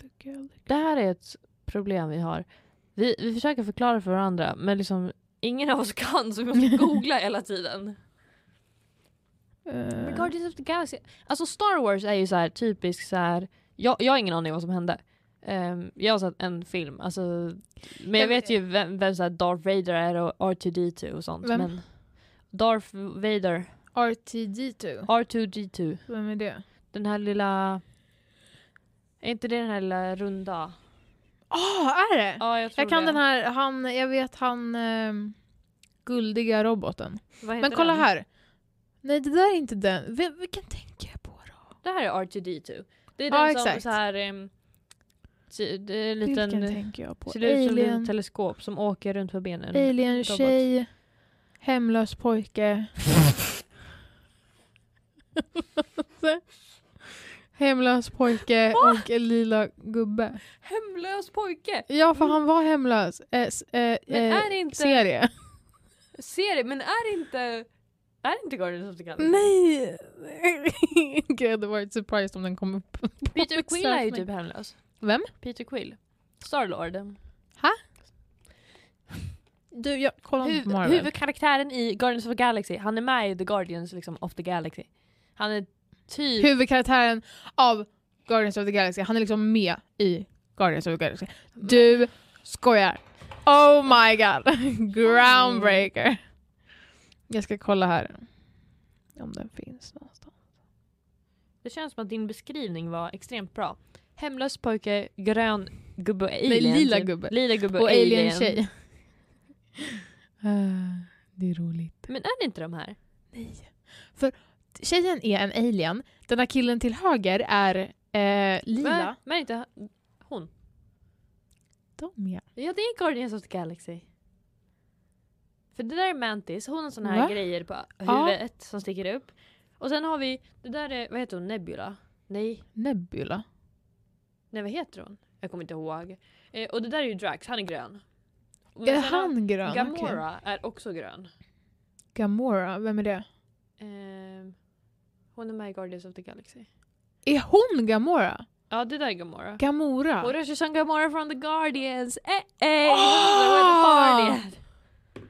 Speaker 2: the Galaxy.
Speaker 1: Det här är ett problem vi har. Vi, vi försöker förklara för varandra men liksom ingen av oss *laughs* kan så vi måste googla hela tiden. Men
Speaker 2: Uh,
Speaker 1: Guardians of the Galaxy, alltså Star Wars är ju så här typisk så här. Jag, jag har ingen aning om vad som hände. Ehm, jag har sett en film, alltså, men jag
Speaker 2: Jag-
Speaker 1: vet ju vem, vem så här Darth Vader är och R2D2 och sånt.
Speaker 2: Vem?
Speaker 1: Men Darth Vader,
Speaker 2: RTD2.
Speaker 1: R2D2,
Speaker 2: Vem är det?
Speaker 1: den här lilla... Är inte det den här lilla runda?
Speaker 2: Ah, är det?
Speaker 1: Ja, jag tror
Speaker 2: jag kan
Speaker 1: det.
Speaker 2: den här, han, jag vet han ehm, guldiga roboten.
Speaker 1: Vad heter
Speaker 2: Men kolla
Speaker 1: den?
Speaker 2: här. Nej det där är inte den. Vem, vilken tänker jag på då?
Speaker 1: Det här är R2D2. Det är
Speaker 2: Ja,
Speaker 1: den som
Speaker 2: exakt.
Speaker 1: så här... ehm, ser- det är en
Speaker 2: vilken
Speaker 1: liten, eh,
Speaker 2: tänker jag på?
Speaker 1: ser ut som ett litet
Speaker 2: Alien,
Speaker 1: teleskop som åker runt på benen.
Speaker 2: alien
Speaker 1: robot.
Speaker 2: tjej, hemlös pojke. *laughs* hemlös pojke och en lila gubbe.
Speaker 1: Hemlös pojke!
Speaker 2: Ja för han var hemlös. Eh, s- eh,
Speaker 1: Mm. Men
Speaker 2: eh,
Speaker 1: är det inte...
Speaker 2: Serie.
Speaker 1: Serie, men är det inte... Är det inte Guardians of the Galaxy?
Speaker 2: Nej! *laughs* Gud, jag hade varit surprised om den kom upp.
Speaker 1: Peter Quill är ju
Speaker 2: Sökning.
Speaker 1: typ hemlös.
Speaker 2: Vem?
Speaker 1: Peter Quill. Starlord.
Speaker 2: Du, jag kollar inte på
Speaker 1: Huv-
Speaker 2: Marvel.
Speaker 1: huvudkaraktären i Guardians of the Galaxy, han är med i The Guardians liksom, of the Galaxy. Han är typ...
Speaker 2: Huvudkaraktären av Guardians of the Galaxy, han är liksom med i Guardians of the Galaxy.
Speaker 1: Mm.
Speaker 2: Du skojar! Oh my god! *laughs*
Speaker 1: Mm.
Speaker 2: Groundbreaker! Jag ska kolla här. Om den finns någonstans.
Speaker 1: Det känns som att din beskrivning var extremt bra. Hemlös pojke, grön gubbe och alien. typ.
Speaker 2: lila gubbe.
Speaker 1: Lila gubbe och,
Speaker 2: Och
Speaker 1: alien.
Speaker 2: alien-tjej.
Speaker 1: *laughs*
Speaker 2: Ah, det är roligt.
Speaker 1: Men är det inte de här?
Speaker 2: Nej. För tjejen är en alien, den här killen till höger är eh,
Speaker 1: Men,
Speaker 2: lila.
Speaker 1: men inte hon?
Speaker 2: De är.
Speaker 1: Ja, det är Guardians of the Galaxy. För det där är Mantis, hon har såna här
Speaker 2: Va?
Speaker 1: grejer på
Speaker 2: Ja.
Speaker 1: huvudet som sticker upp. Och sen har vi, det där är, vad heter hon, Nebula? Nej,
Speaker 2: Nebula.
Speaker 1: nej vad heter hon? Jag kommer inte ihåg. Eh, och det där är ju Drax, han är grön. Men
Speaker 2: är
Speaker 1: sen har-
Speaker 2: han grön? Okej.
Speaker 1: Gamora är också grön.
Speaker 2: Gamora, vem är det?
Speaker 1: Ehm, hon är med i Guardians of the Galaxy.
Speaker 2: Är hon Gamora?
Speaker 1: Ja, det där är Gamora.
Speaker 2: Gamora?
Speaker 1: Hon rör sig som Gamora från The Guardians! Eh, eh! Hon är med i The
Speaker 2: Ah!
Speaker 1: Guardians.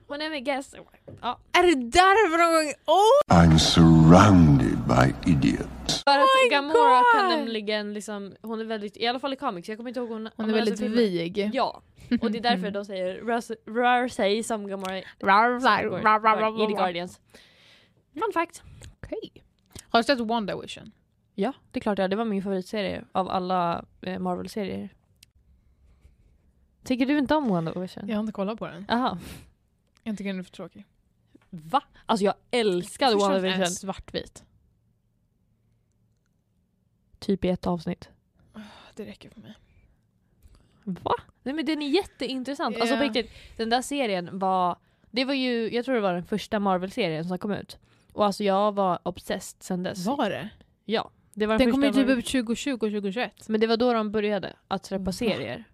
Speaker 1: Hon är med Guess. Ja.
Speaker 2: Är det därför hon... Oh!
Speaker 5: I'm surrounded by idiots.
Speaker 1: För att
Speaker 2: my
Speaker 1: Gamora kan
Speaker 2: God!
Speaker 1: nämligen liksom, hon är väldigt, i alla fall i comics, jag kommer inte ihåg hon, om
Speaker 2: Hon är
Speaker 1: jag
Speaker 2: väldigt
Speaker 1: läser alltså, filmen.
Speaker 2: vig.
Speaker 1: Ja, och det är därför de säger rör sig- rör sig som Gamora i
Speaker 2: *laughs* Rar, rar, rar, rar,
Speaker 1: i The
Speaker 2: rar.
Speaker 1: Guardians. Fun fact.
Speaker 2: Okej. Har du sett WandaVision?
Speaker 1: Ja, det är klart ja, det var min favoritserie av alla eh, Marvel-serier. Tycker du inte om WandaVision?
Speaker 2: Jag har inte kollat på den.
Speaker 1: Jaha.
Speaker 2: Jag tycker den är för tråkig.
Speaker 1: Va? Alltså jag älskade
Speaker 2: Förstår att den är
Speaker 1: WandaVision.
Speaker 2: svartvit.
Speaker 1: Typ i ett avsnitt.
Speaker 2: Det räcker för mig.
Speaker 1: Va? Nej men den är jätteintressant. Alltså på
Speaker 2: Ja.
Speaker 1: riktigt, den där serien var... Det var ju, jag tror det var den första Marvel-serien som kom ut. Och alltså jag var obsessed sen dess.
Speaker 2: Var det?
Speaker 1: Ja. Det var den,
Speaker 2: Den kommer ju
Speaker 1: första
Speaker 2: typ
Speaker 1: Marvel-
Speaker 2: upp 2020, 2021.
Speaker 1: Men det var då de började att släppa
Speaker 2: Va?
Speaker 1: serier.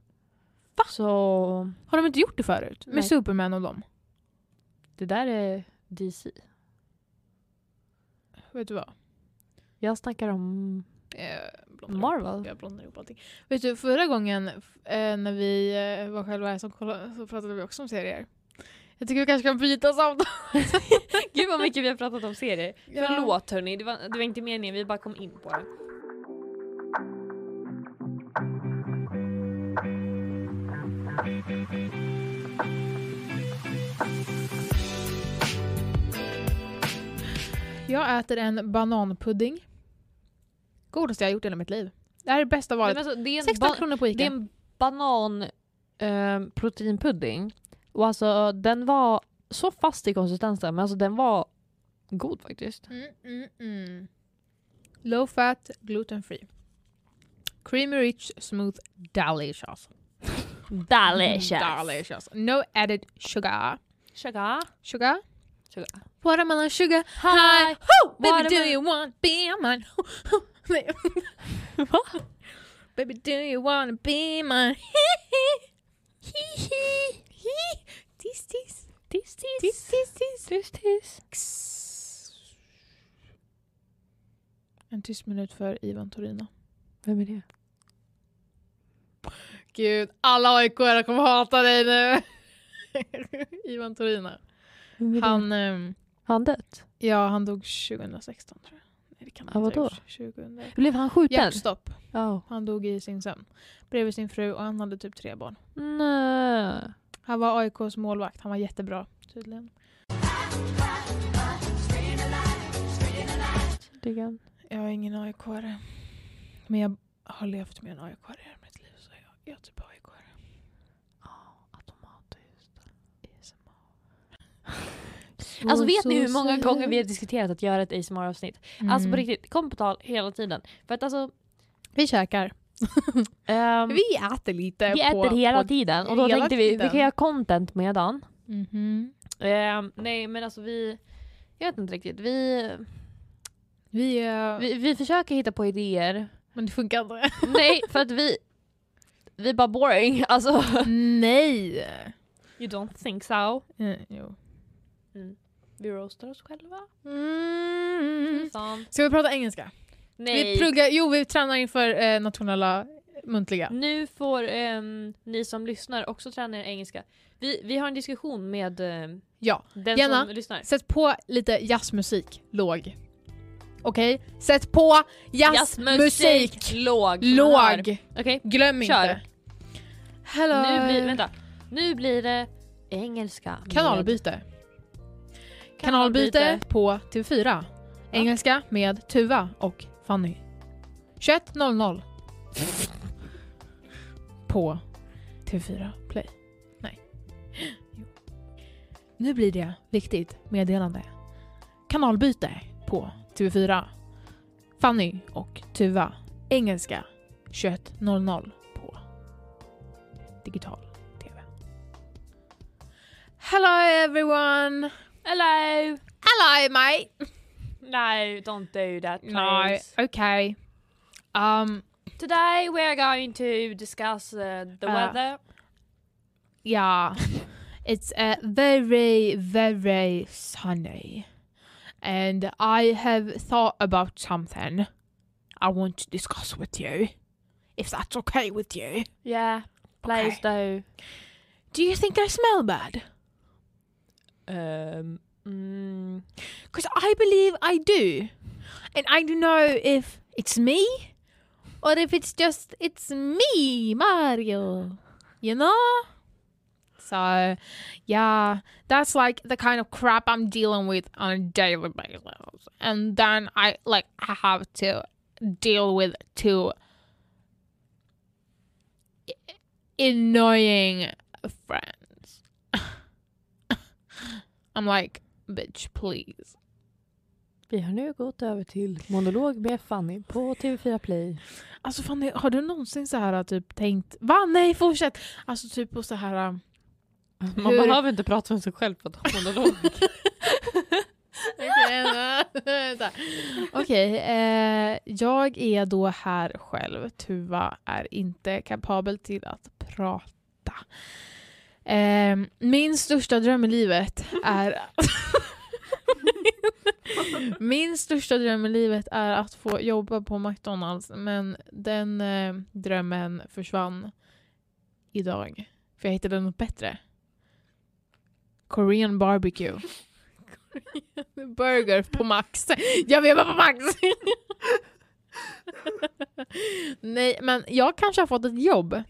Speaker 1: Va? Så
Speaker 2: Har de inte gjort det förut? Med
Speaker 1: Nej.
Speaker 2: Superman och dem?
Speaker 1: det där är DC.
Speaker 2: Vet du vad?
Speaker 1: Jag snackar
Speaker 2: *laughs*
Speaker 1: om
Speaker 2: Eh, blondar ihop-
Speaker 1: Marvel.
Speaker 2: Jag blandar ihop allting. Vet du, förra gången f- eh, när vi eh, var själva här som kollade, så pratade vi också om serier. Jag tycker vi kanske kan byta samtal.
Speaker 1: Gud vad mycket vi har pratat om serier.
Speaker 2: Ja.
Speaker 1: Förlåt hörni, det var, det var inte meningen, vi bara kom in på det.
Speaker 2: Jag äter en bananpudding. Godaste jag har gjort i hela mitt liv. Det här är det bästa
Speaker 1: Nej,
Speaker 2: valet.
Speaker 1: men alltså, det är en
Speaker 2: 16
Speaker 1: ba-
Speaker 2: kronor på Ica.
Speaker 1: Det är en banan eh, proteinpudding. Och alltså den var så fast i konsistensen men alltså den var god faktiskt.
Speaker 2: Mm, mm, mm. Low fat, gluten free. Creamy rich, smooth, delicious. Delicious. No added sugar.
Speaker 1: Sugar.
Speaker 2: Sugar?
Speaker 1: Sugar.
Speaker 2: Watermelon sugar.
Speaker 1: Hi!
Speaker 2: Who? Baby, do
Speaker 1: Watermelon-
Speaker 2: you want be mine? *laughs* Nej. Baby, do you wanna be *laughs* mine? Tiss, tiss.
Speaker 1: Tis
Speaker 2: Tiss,
Speaker 1: tis.
Speaker 2: tiss, tiss.
Speaker 1: Tis tis.
Speaker 2: En tyst minut för Ivan Torino.
Speaker 1: Vem är det?
Speaker 2: Gud, alla aik kommer hata dig nu. *laughs* Ivan Torina. Han, ehm,
Speaker 1: Har han dött?
Speaker 2: ja han dog 2016 tror jag. Nej, det kan han
Speaker 1: Ja,
Speaker 2: inte ha
Speaker 1: vadå?
Speaker 2: gjort. 2000.
Speaker 1: Blev han skjuten?
Speaker 2: Hjärtstopp.
Speaker 1: Ja.
Speaker 2: Han dog i sin sömn. Bredvid sin fru och han hade typ tre barn.
Speaker 1: Nej.
Speaker 2: Han var AIKs målvakt. Han var jättebra tydligen.
Speaker 1: Tydligen.
Speaker 2: Jag är ingen aik Men jag har levt med en aik i hela mitt liv så jag, jag är typ aik *laughs*
Speaker 1: Alltså vet ni hur många gånger vi har diskuterat att göra ett ASMR-avsnitt? Alltså på riktigt, kom på tal hela tiden. För att alltså...
Speaker 2: Mm. Vi käkar.
Speaker 1: ehm,
Speaker 2: Vi äter lite.
Speaker 1: vi
Speaker 2: på,
Speaker 1: äter hela
Speaker 2: på...
Speaker 1: tiden och då
Speaker 2: hela
Speaker 1: tänkte vi vi
Speaker 2: tiden.
Speaker 1: kan göra content med Dan.
Speaker 2: Mhm.
Speaker 1: Ehm, nej men alltså vi... Jag vet inte riktigt. Vi,
Speaker 2: Vi, eh,
Speaker 1: vi, vi försöker hitta på idéer.
Speaker 2: Men det funkar inte.
Speaker 1: *laughs* nej för att vi... Vi är bara boring. Alltså...
Speaker 2: Nej!
Speaker 1: You don't think so?
Speaker 2: Eh, jo.
Speaker 1: Vi roastar oss själva.
Speaker 2: Mm.
Speaker 1: Fan.
Speaker 2: Ska vi prata engelska?
Speaker 1: Nej.
Speaker 2: Vi pluggar, jo vi tränar inför eh, nationella muntliga.
Speaker 1: Nu får ehm, ni som lyssnar också träna er engelska. Vi, vi har en diskussion med ehm,
Speaker 2: Ja.
Speaker 1: den
Speaker 2: Jenna.
Speaker 1: som lyssnar.
Speaker 2: Sätt på lite jazzmusik, låg. Okej? Sätt på jazzmusik,
Speaker 1: låg.
Speaker 2: låg.
Speaker 1: Okej,
Speaker 2: Glöm
Speaker 1: Kör.
Speaker 2: inte. Hello.
Speaker 1: nu blir vänta. Nu blir det engelska. med-
Speaker 2: Kanalbyte. Kanalbyte på TV4. Engelska med Tuva och Fanny. 21.00. på TV4 Play. Nej. Jo. Nu blir det viktigt meddelande. Kanalbyte på TV4. Fanny och Tuva. Engelska 21.00 på digital TV. Hello everyone!
Speaker 1: Hello!
Speaker 2: Hello mate!
Speaker 1: No, don't do that
Speaker 2: No,
Speaker 1: please.
Speaker 2: okay. Um,
Speaker 1: Today we're going to discuss uh, the
Speaker 2: Uh,
Speaker 1: weather.
Speaker 2: yeah. it's uh, very, very sunny. And I have thought about something I want to discuss with you. If that's okay with you.
Speaker 1: Yeah, please do.
Speaker 2: Do you think I smell bad?
Speaker 1: Um, mm,
Speaker 2: Because I believe I do. And I don't know if it's me or if it's just, it's me, Mario. You know? So, yeah, that's like the kind of crap I'm dealing with on a daily basis. And then I like I have to deal with two annoying friends. *laughs* I'm like, bitch, please.
Speaker 1: vi har nu gått över till monolog med Fanny på TV4 Play.
Speaker 2: Alltså Fanny, har du någonsin så här typ tänkt va? Nej fortsätt! Alltså typ på så här... um,
Speaker 1: *laughs* Man
Speaker 2: Hur-
Speaker 1: behöver inte prata med sig själv på att ha monolog.
Speaker 2: Vänta. *laughs* Okej, eh, jag är då här själv. Tuva är inte kapabel till att prata. Eh, min största dröm i livet är... *laughs* min största dröm i livet är att få jobba på McDonalds men den eh, drömmen försvann idag. För jag hittade något bättre. Korean barbecue. Burger på Max. Jag vill bara på Max! Nej, men jag kanske har fått ett jobb.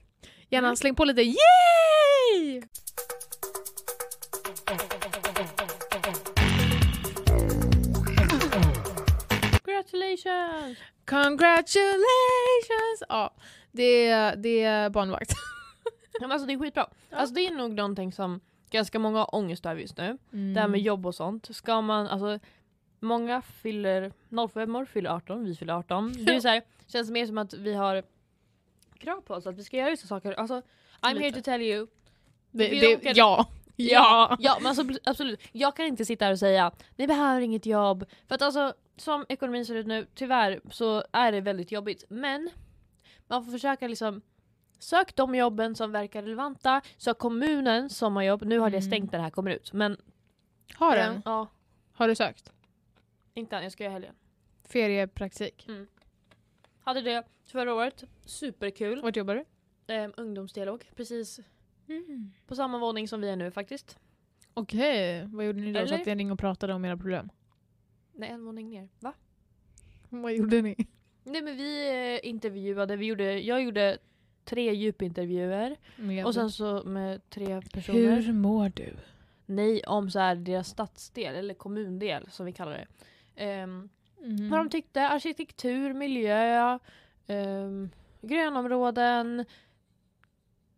Speaker 2: Gärna släng på lite yay!
Speaker 1: Congratulations!
Speaker 2: Congratulations! Ja, det är, det är barnvakt.
Speaker 1: *laughs* Ja, men Alltså det är skitbra. Alltså det är nog någonting som ganska många har ångest över just nu.
Speaker 2: Mm.
Speaker 1: Det här med jobb och sånt. Ska man, alltså många fyller, 05 fyller 18, vi fyller 18. Det är ju så här, känns mer som att vi har krav på oss att vi ska göra vissa saker. Alltså I'm here
Speaker 2: Lite.
Speaker 1: to tell you.
Speaker 2: det,
Speaker 1: vi
Speaker 2: det,
Speaker 1: råkade-
Speaker 2: ja. Ja.
Speaker 1: Ja men alltså, absolut, jag kan inte sitta här och säga ni behöver inget jobb. För att alltså som ekonomin ser ut nu, tyvärr så är det väldigt jobbigt. Men man får försöka liksom Sök de jobben som verkar relevanta, sök kommunen som har jobb. Nu har det
Speaker 2: Mm.
Speaker 1: stängt när det här kommer ut. Men, eh,
Speaker 2: Har den?
Speaker 1: Ja,
Speaker 2: Har du sökt?
Speaker 1: inte än, jag ska göra i helgen.
Speaker 2: Feriepraktik.
Speaker 1: Hade det förra året, superkul.
Speaker 2: Vart jobbar du?
Speaker 1: eh, ungdomsdialog, precis på samma våning som vi är nu faktiskt.
Speaker 2: Okej, vad gjorde ni då?
Speaker 1: Eller?
Speaker 2: Satt ni ring och pratade om era problem?
Speaker 1: Nej, en våning ner. Va?
Speaker 2: Vad gjorde ni?
Speaker 1: Nej men vi eh, intervjuade, vi gjorde, jag gjorde tre djupintervjuer och sen så med tre personer.
Speaker 2: Hur mår du?
Speaker 1: Nej, om så här deras stadsdel eller kommundel som vi kallar det. Ehm,
Speaker 2: Mm.
Speaker 1: Vad de tyckte, arkitektur, miljö, ehm, grönområden,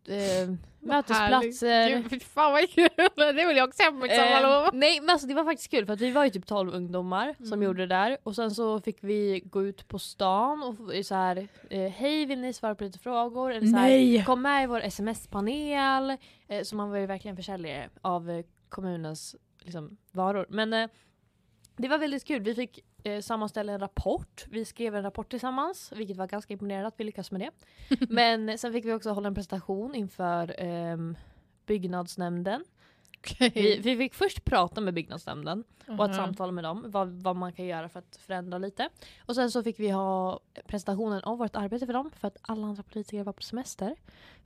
Speaker 1: ehm, mötesplatser.
Speaker 2: Gud, fy fan vad kul! Eh, *laughs* Det vill jag också hem liksom, på mitt sommarlov.
Speaker 1: Ehm, nej men alltså det var faktiskt kul för att vi var ju typ 12 ungdomar som
Speaker 2: Mm.
Speaker 1: gjorde det där och sen så fick vi gå ut på stan och f- så här eh, hej vill ni svara på lite frågor? Eller så här,
Speaker 2: Nej!
Speaker 1: Kom med i vår sms-panel. Eh, så man var ju verkligen försäljare av eh, kommunens liksom, varor. Men eh, det var väldigt kul. Vi fick eh, sammanställa en rapport. Vi skrev en rapport tillsammans, vilket var ganska imponerande att vi lyckades
Speaker 2: *laughs*
Speaker 1: med det. Men sen fick vi också hålla en presentation inför ehm, byggnadsnämnden.
Speaker 2: Okej.
Speaker 1: Vi, vi fick först prata med byggnadsnämnden och ett
Speaker 2: Mhm.
Speaker 1: samtal med dem, vad, vad man kan göra för att förändra lite. Och sen så fick vi ha presentationen av vårt arbete för dem, för att alla andra politiker var på semester.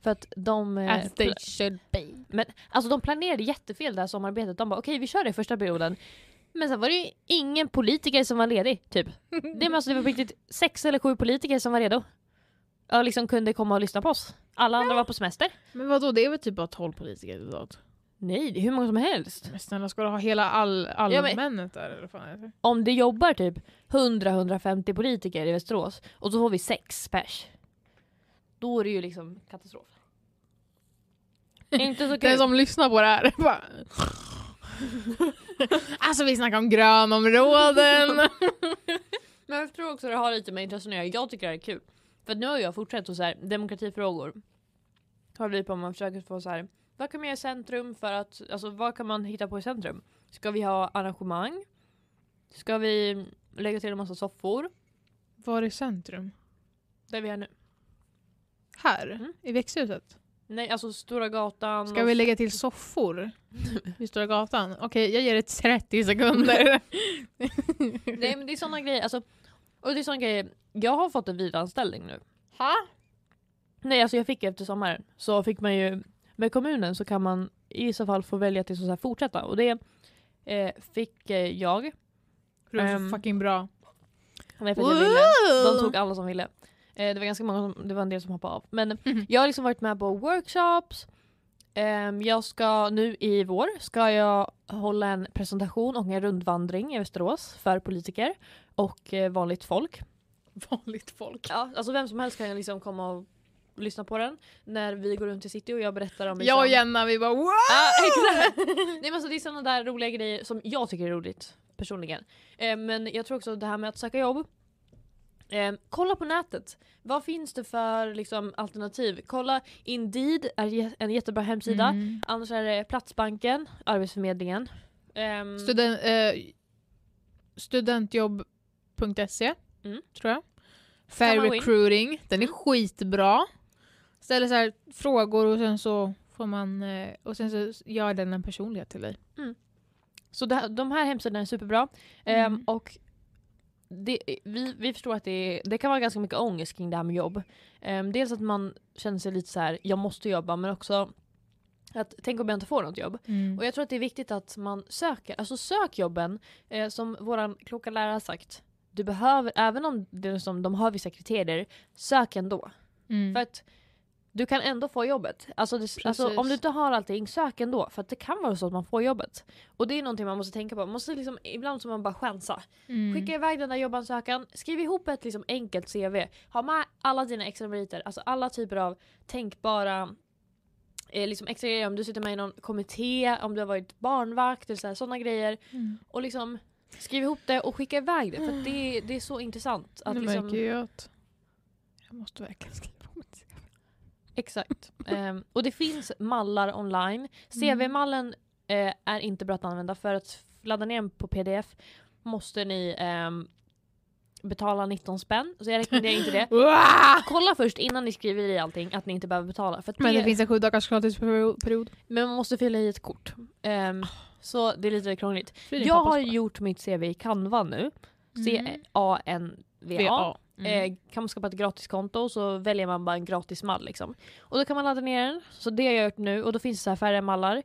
Speaker 1: För att de, eh,
Speaker 2: As they
Speaker 1: pla-
Speaker 2: should be.
Speaker 1: alltså de planerade jättefel det här sommarbetet, de bara okej vi kör det första perioden. Men sen var det ju ingen politiker som var ledig, typ. Det, var- alltså, det var på riktigt sex eller sju politiker som var redo. Och liksom kunde komma och lyssna på oss. Alla andra var på semester.
Speaker 2: Men vadå, det är väl typ bara 12 politiker totalt?
Speaker 1: Nej, det är hur många som helst.
Speaker 2: Men snälla, ska du ha hela all,
Speaker 1: Ja, men-
Speaker 2: allmännet där eller vad fan är det?
Speaker 1: Om det jobbar typ 100-150 politiker i Västerås och så får vi sex pers. Då är det ju liksom katastrof. Inte så
Speaker 2: Den
Speaker 1: kul.
Speaker 2: som lyssnar på *laughs* det här *laughs* bara... Alltså vi snackar om *laughs* grönområden!
Speaker 1: *laughs* Men jag tror också det har lite med intressen att göra. Jag tycker det här är kul. För att nu har jag fortsatt och så här, demokratifrågor. Håller vi på med och försöker få så här. Vad kan man göra i centrum för att, alltså vad kan man hitta på i centrum? Ska vi ha arrangemang? Ska vi lägga till en massa soffor?
Speaker 2: Var är centrum?
Speaker 1: Där vi är nu.
Speaker 2: Här?
Speaker 1: Mm.
Speaker 2: I växthuset?
Speaker 1: Nej, alltså Stora gatan.
Speaker 2: Ska
Speaker 1: och-
Speaker 2: vi lägga till *laughs* soffor? Vid Stora gatan? Okej, jag ger det 30 *laughs* sekunder.
Speaker 1: Nej men det är såna grejer, alltså, och det är såna grejer, jag har fått en vidareanställning nu.
Speaker 2: Ha?
Speaker 1: Nej alltså jag fick efter sommaren, så fick man ju, med kommunen så kan man i så fall få välja till så här fortsätta och det eh, fick eh, jag,
Speaker 2: Det var
Speaker 1: Ehm,
Speaker 2: så fucking bra.
Speaker 1: Nej, för att jag ville. de tog alla som ville. Eh, det var ganska många, som, det var en del som hoppade av. Men
Speaker 2: Mhm.
Speaker 1: jag har liksom varit med på workshops, Ehm, jag ska nu i vår ska jag hålla en presentation och en rundvandring i Västerås för politiker och eh, vanligt folk.
Speaker 2: *laughs* Vanligt folk.
Speaker 1: Ja, alltså vem som helst kan liksom komma och lyssna på den när vi går runt i city och jag berättar om
Speaker 2: Jag och Jenna, vi bara wow!
Speaker 1: Ja, *laughs* exakt. Nej men alltså det är sådana där roliga grejer som jag tycker är roligt personligen. Eh, men jag tror också det här med att söka jobb. Eh, kolla på nätet. Vad finns det för liksom, alternativ? Kolla Indeed är jä- en jättebra hemsida.
Speaker 2: Mm.
Speaker 1: Annars är det Platsbanken, Arbetsförmedlingen. Ehm,
Speaker 2: Studen, eh, studentjobb.se
Speaker 1: Mm.
Speaker 2: tror
Speaker 1: Kan
Speaker 2: jag. Fair
Speaker 1: man gå in.
Speaker 2: recruiting, den är skitbra. Ställer så här frågor och sen så får man eh, och sen så gör den en personlighet till dig.
Speaker 1: Så det, här- de här hemsidorna är superbra. Ehm,
Speaker 2: Mm.
Speaker 1: och det, vi, vi förstår att det, är- det kan vara ganska mycket ångest kring det här med jobb. Ehm, dels att man känner sig lite så här: jag måste jobba, men också att tänk om jag inte får något jobb. Och jag tror att det är viktigt att man söker, alltså sök jobben. Eh, som våran kloka lärare har sagt, du behöver, även om det är som de har vissa kriterier, sök ändå.
Speaker 2: Mm.
Speaker 1: För att du kan ändå få jobbet. Alltså, det, alltså
Speaker 2: Precis.
Speaker 1: om du inte har allting, sök ändå. För att det kan vara så att man får jobbet. Och det är någonting man måste tänka på. Man måste liksom, ibland så man bara chansa.
Speaker 2: Mm.
Speaker 1: Skicka iväg den där jobbansökan, skriv ihop ett liksom enkelt CV. Ha med alla dina extra meriter, alltså alla typer av tänkbara eh, liksom extra grejer. Om du sitter med i någon kommitté, om du har varit barnvakt eller sådana grejer.
Speaker 2: Mm.
Speaker 1: Och liksom skriv ihop det och skicka iväg det. För att det, det är så intressant. Att
Speaker 2: nu
Speaker 1: liksom,
Speaker 2: märker jag att jag måste verkligen skriva om det.
Speaker 1: *laughs* Exakt. *laughs* Ehm, och det finns mallar online.
Speaker 2: Mm.
Speaker 1: CV-mallen eh, är inte bra att använda för att ladda ner den på pdf måste ni ehm, betala 19 spänn. Så jag rekommenderar inte
Speaker 2: *laughs*
Speaker 1: det. Kolla först innan ni skriver i allting att ni inte behöver betala. För att
Speaker 2: Men det
Speaker 1: det-
Speaker 2: finns en sju dagars gratisperiod.
Speaker 1: men man måste fylla i ett kort. Ehm,
Speaker 2: Ah.
Speaker 1: så det är lite krångligt. Jag har gjort mitt CV i Canva nu.
Speaker 2: Mm.
Speaker 1: C-A-N-V-A.
Speaker 2: VA. Mm.
Speaker 1: E Eh, kan man skapa ett gratiskonto och så väljer man bara en gratis mall liksom. Och då kan man ladda ner den. Så det har jag gjort nu och då finns det så här färre mallar.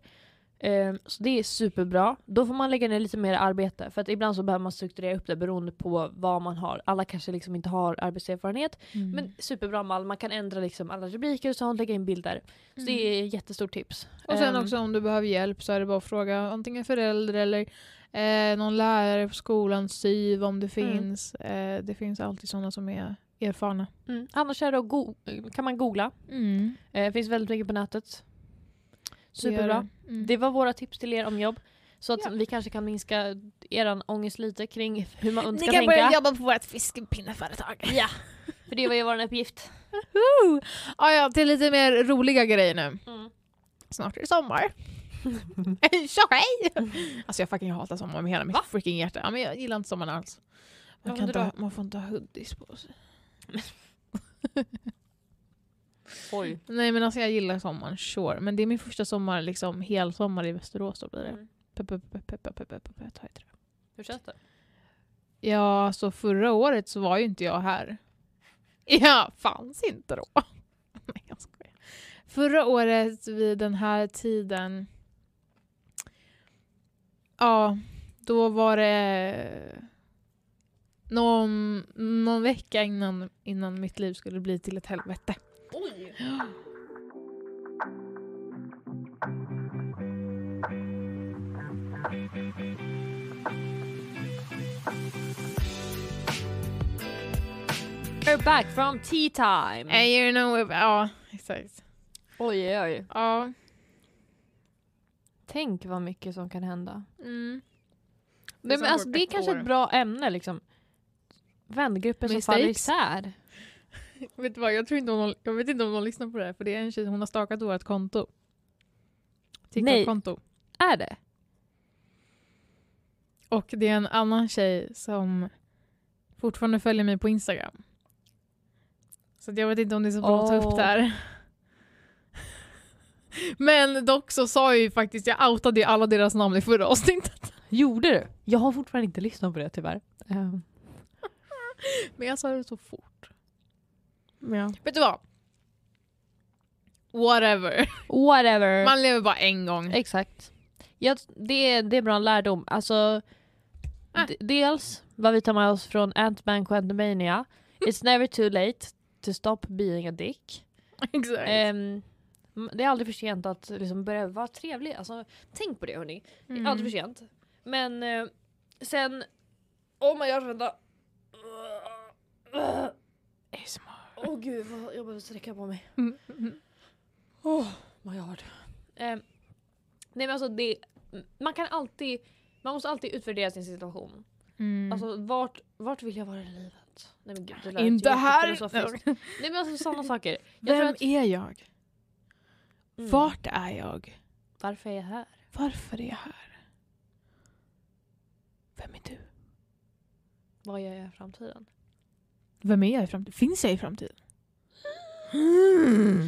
Speaker 1: Eh, så det är superbra. Då får man lägga ner lite mer arbete för att ibland så behöver man strukturera upp det beroende på vad man har. Alla kanske liksom inte har arbetserfarenhet.
Speaker 2: Mm.
Speaker 1: Men superbra mall, man kan ändra liksom alla rubriker och sånt, lägga in bilder. Så
Speaker 2: Mm.
Speaker 1: det är ett jättestort tips.
Speaker 2: Och sen
Speaker 1: Ehm,
Speaker 2: också om du behöver hjälp så är det bara att fråga antingen förälder eller eh, någon lärare på skolan, SYV om det
Speaker 1: Mm.
Speaker 2: finns. Eh, det finns alltid sådana som är erfarna.
Speaker 1: Mm. Annars är det att go- kan man googla. Eh, Det finns väldigt mycket på nätet. Superbra.
Speaker 2: Mm.
Speaker 1: Det var våra tips till er om jobb. Så att
Speaker 2: Ja.
Speaker 1: vi kanske kan minska er ångest lite kring hur man
Speaker 2: Ni
Speaker 1: ska
Speaker 2: kan
Speaker 1: tänka.
Speaker 2: börja jobba på vårt fiskepinneföretag.
Speaker 1: *laughs* Ja, för det var ju vår uppgift.
Speaker 2: Ah, ja, till lite mer roliga grejer nu.
Speaker 1: Mm.
Speaker 2: Snart är det *laughs* sommar. Tja hej! Alltså jag fucking hatar sommar med hela mitt freaking hjärta. Ja, men jag gillar inte sommaren alls. Man,
Speaker 1: Varför
Speaker 2: kan
Speaker 1: inte
Speaker 2: inte, ha- man får inte ha hoodies på sig.
Speaker 1: Oj.
Speaker 2: Nej men alltså jag gillar sommaren, sure. Men det är min första sommar, liksom hel sommar i Västerås då blir det.
Speaker 1: Mm.
Speaker 2: Pe- pe- pe- pe- pe- pe- pe- pe- pe- ta i trä.
Speaker 1: Hur känns det?
Speaker 2: Ja, alltså förra året så var ju inte jag här. *laughs* Jag fanns inte då. *laughs* Nej, jag skojar. Förra året vid den här tiden... Ja, då var det någon, någon vecka innan, innan mitt liv skulle bli till ett helvete.
Speaker 1: Oj! We're back from tea time!
Speaker 2: Mm. You know, ja, exakt.
Speaker 1: Oj, oj, oj.
Speaker 2: Ja.
Speaker 1: Tänk vad mycket som kan hända.
Speaker 2: Mm.
Speaker 1: Det, men alltså, det är kanske ett bra ämne liksom. Vängrupper som faller
Speaker 2: Mistakes.
Speaker 1: isär.
Speaker 2: Vet du vad, jag, tror inte om någon, jag vet inte om någon lyssnar på det här för det är en tjej, hon har startat vårt konto. TikTok-konto.
Speaker 1: Är det?
Speaker 2: Och det är en annan tjej som fortfarande följer mig på Instagram. Så att jag vet inte om det är så bra att ta upp det här. *laughs* Men dock så sa jag ju faktiskt, jag outade ju alla deras namn i förra avsnittet. *laughs*
Speaker 1: Gjorde du? Jag har fortfarande inte lyssnat på det tyvärr. Ehm,
Speaker 2: Men jag sa det så fort.
Speaker 1: men ja.
Speaker 2: Vet du vad? Whatever.
Speaker 1: Whatever.
Speaker 2: Man lever bara en gång. *laughs*
Speaker 1: Exakt. Ja, det, är- det är bra lärdom. Alltså,
Speaker 2: Ah.
Speaker 1: d- dels vad vi tar med oss från Ant-Man Quantumania.
Speaker 2: *laughs*
Speaker 1: It's never too late to stop being a dick.
Speaker 2: Exakt.
Speaker 1: Ehm, m- det är aldrig för sent att liksom börja vara trevlig. Alltså, tänk på det hörni. Det är
Speaker 2: Mm.
Speaker 1: aldrig för sent. Men eh, sen... Oh my gosh, vänta. Åh gud, vad- jag behöver sträcka på mig.
Speaker 2: Mm,
Speaker 1: Oh my god. Eh, nej men alltså det, man kan alltid, man måste alltid utvärdera sin situation.
Speaker 2: Mm.
Speaker 1: Alltså vart, vart vill jag vara i livet? Nej men gud, det lät
Speaker 2: Inte här!
Speaker 1: jättefilosofiskt. Nej men alltså sådana saker. Jag tror
Speaker 2: Vem
Speaker 1: att,
Speaker 2: är jag?
Speaker 1: mm,
Speaker 2: Vart är jag?
Speaker 1: Varför är jag här?
Speaker 2: Varför är jag här? Vem är du?
Speaker 1: Vad gör jag i framtiden?
Speaker 2: Vem är jag i framtiden? Finns jag i framtiden?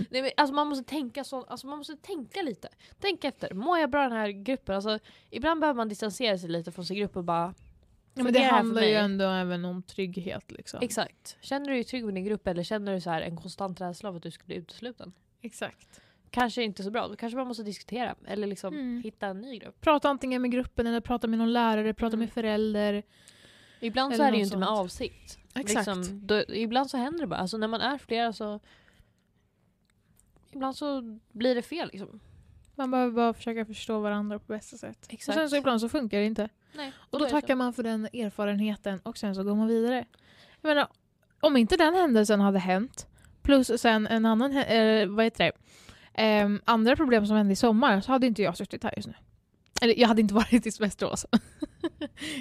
Speaker 1: Nej men alltså man måste tänka så, alltså man måste tänka lite. Tänk efter, mår jag bra i den här gruppen? Alltså ibland behöver man distansera sig lite från sin grupp och bara
Speaker 2: Ja, men det
Speaker 1: Fungerar för
Speaker 2: handlar ju
Speaker 1: mig.
Speaker 2: ändå även om trygghet. Liksom.
Speaker 1: Exakt. Känner du dig trygg med din grupp eller känner du så här en konstant rädsla av att du ska bli utesluten?
Speaker 2: Exakt.
Speaker 1: kanske inte så bra. Då kanske man måste diskutera eller liksom
Speaker 2: Mm.
Speaker 1: hitta en ny grupp.
Speaker 2: Prata antingen med gruppen eller prata med någon lärare, prata
Speaker 1: Mm.
Speaker 2: med förälder.
Speaker 1: Ibland så
Speaker 2: Eller
Speaker 1: är det ju
Speaker 2: något
Speaker 1: inte med
Speaker 2: sånt.
Speaker 1: avsikt.
Speaker 2: Exakt.
Speaker 1: Liksom, då, ibland så händer det bara. Alltså när man är flera så... Ibland så blir det fel liksom.
Speaker 2: Man behöver bara försöka förstå varandra på bästa sätt. Och
Speaker 1: Exakt.
Speaker 2: sen så ibland så funkar det inte.
Speaker 1: Nej,
Speaker 2: Och då tackar man för den erfarenheten och sen så går man vidare. Jag menar, om inte den händelsen hade hänt, plus sen en annan, hä- eh, vad heter det, Ehm, andra problem som hände i sommar så hade inte jag suttit här just nu. Eller jag hade inte *laughs* varit i Västerås.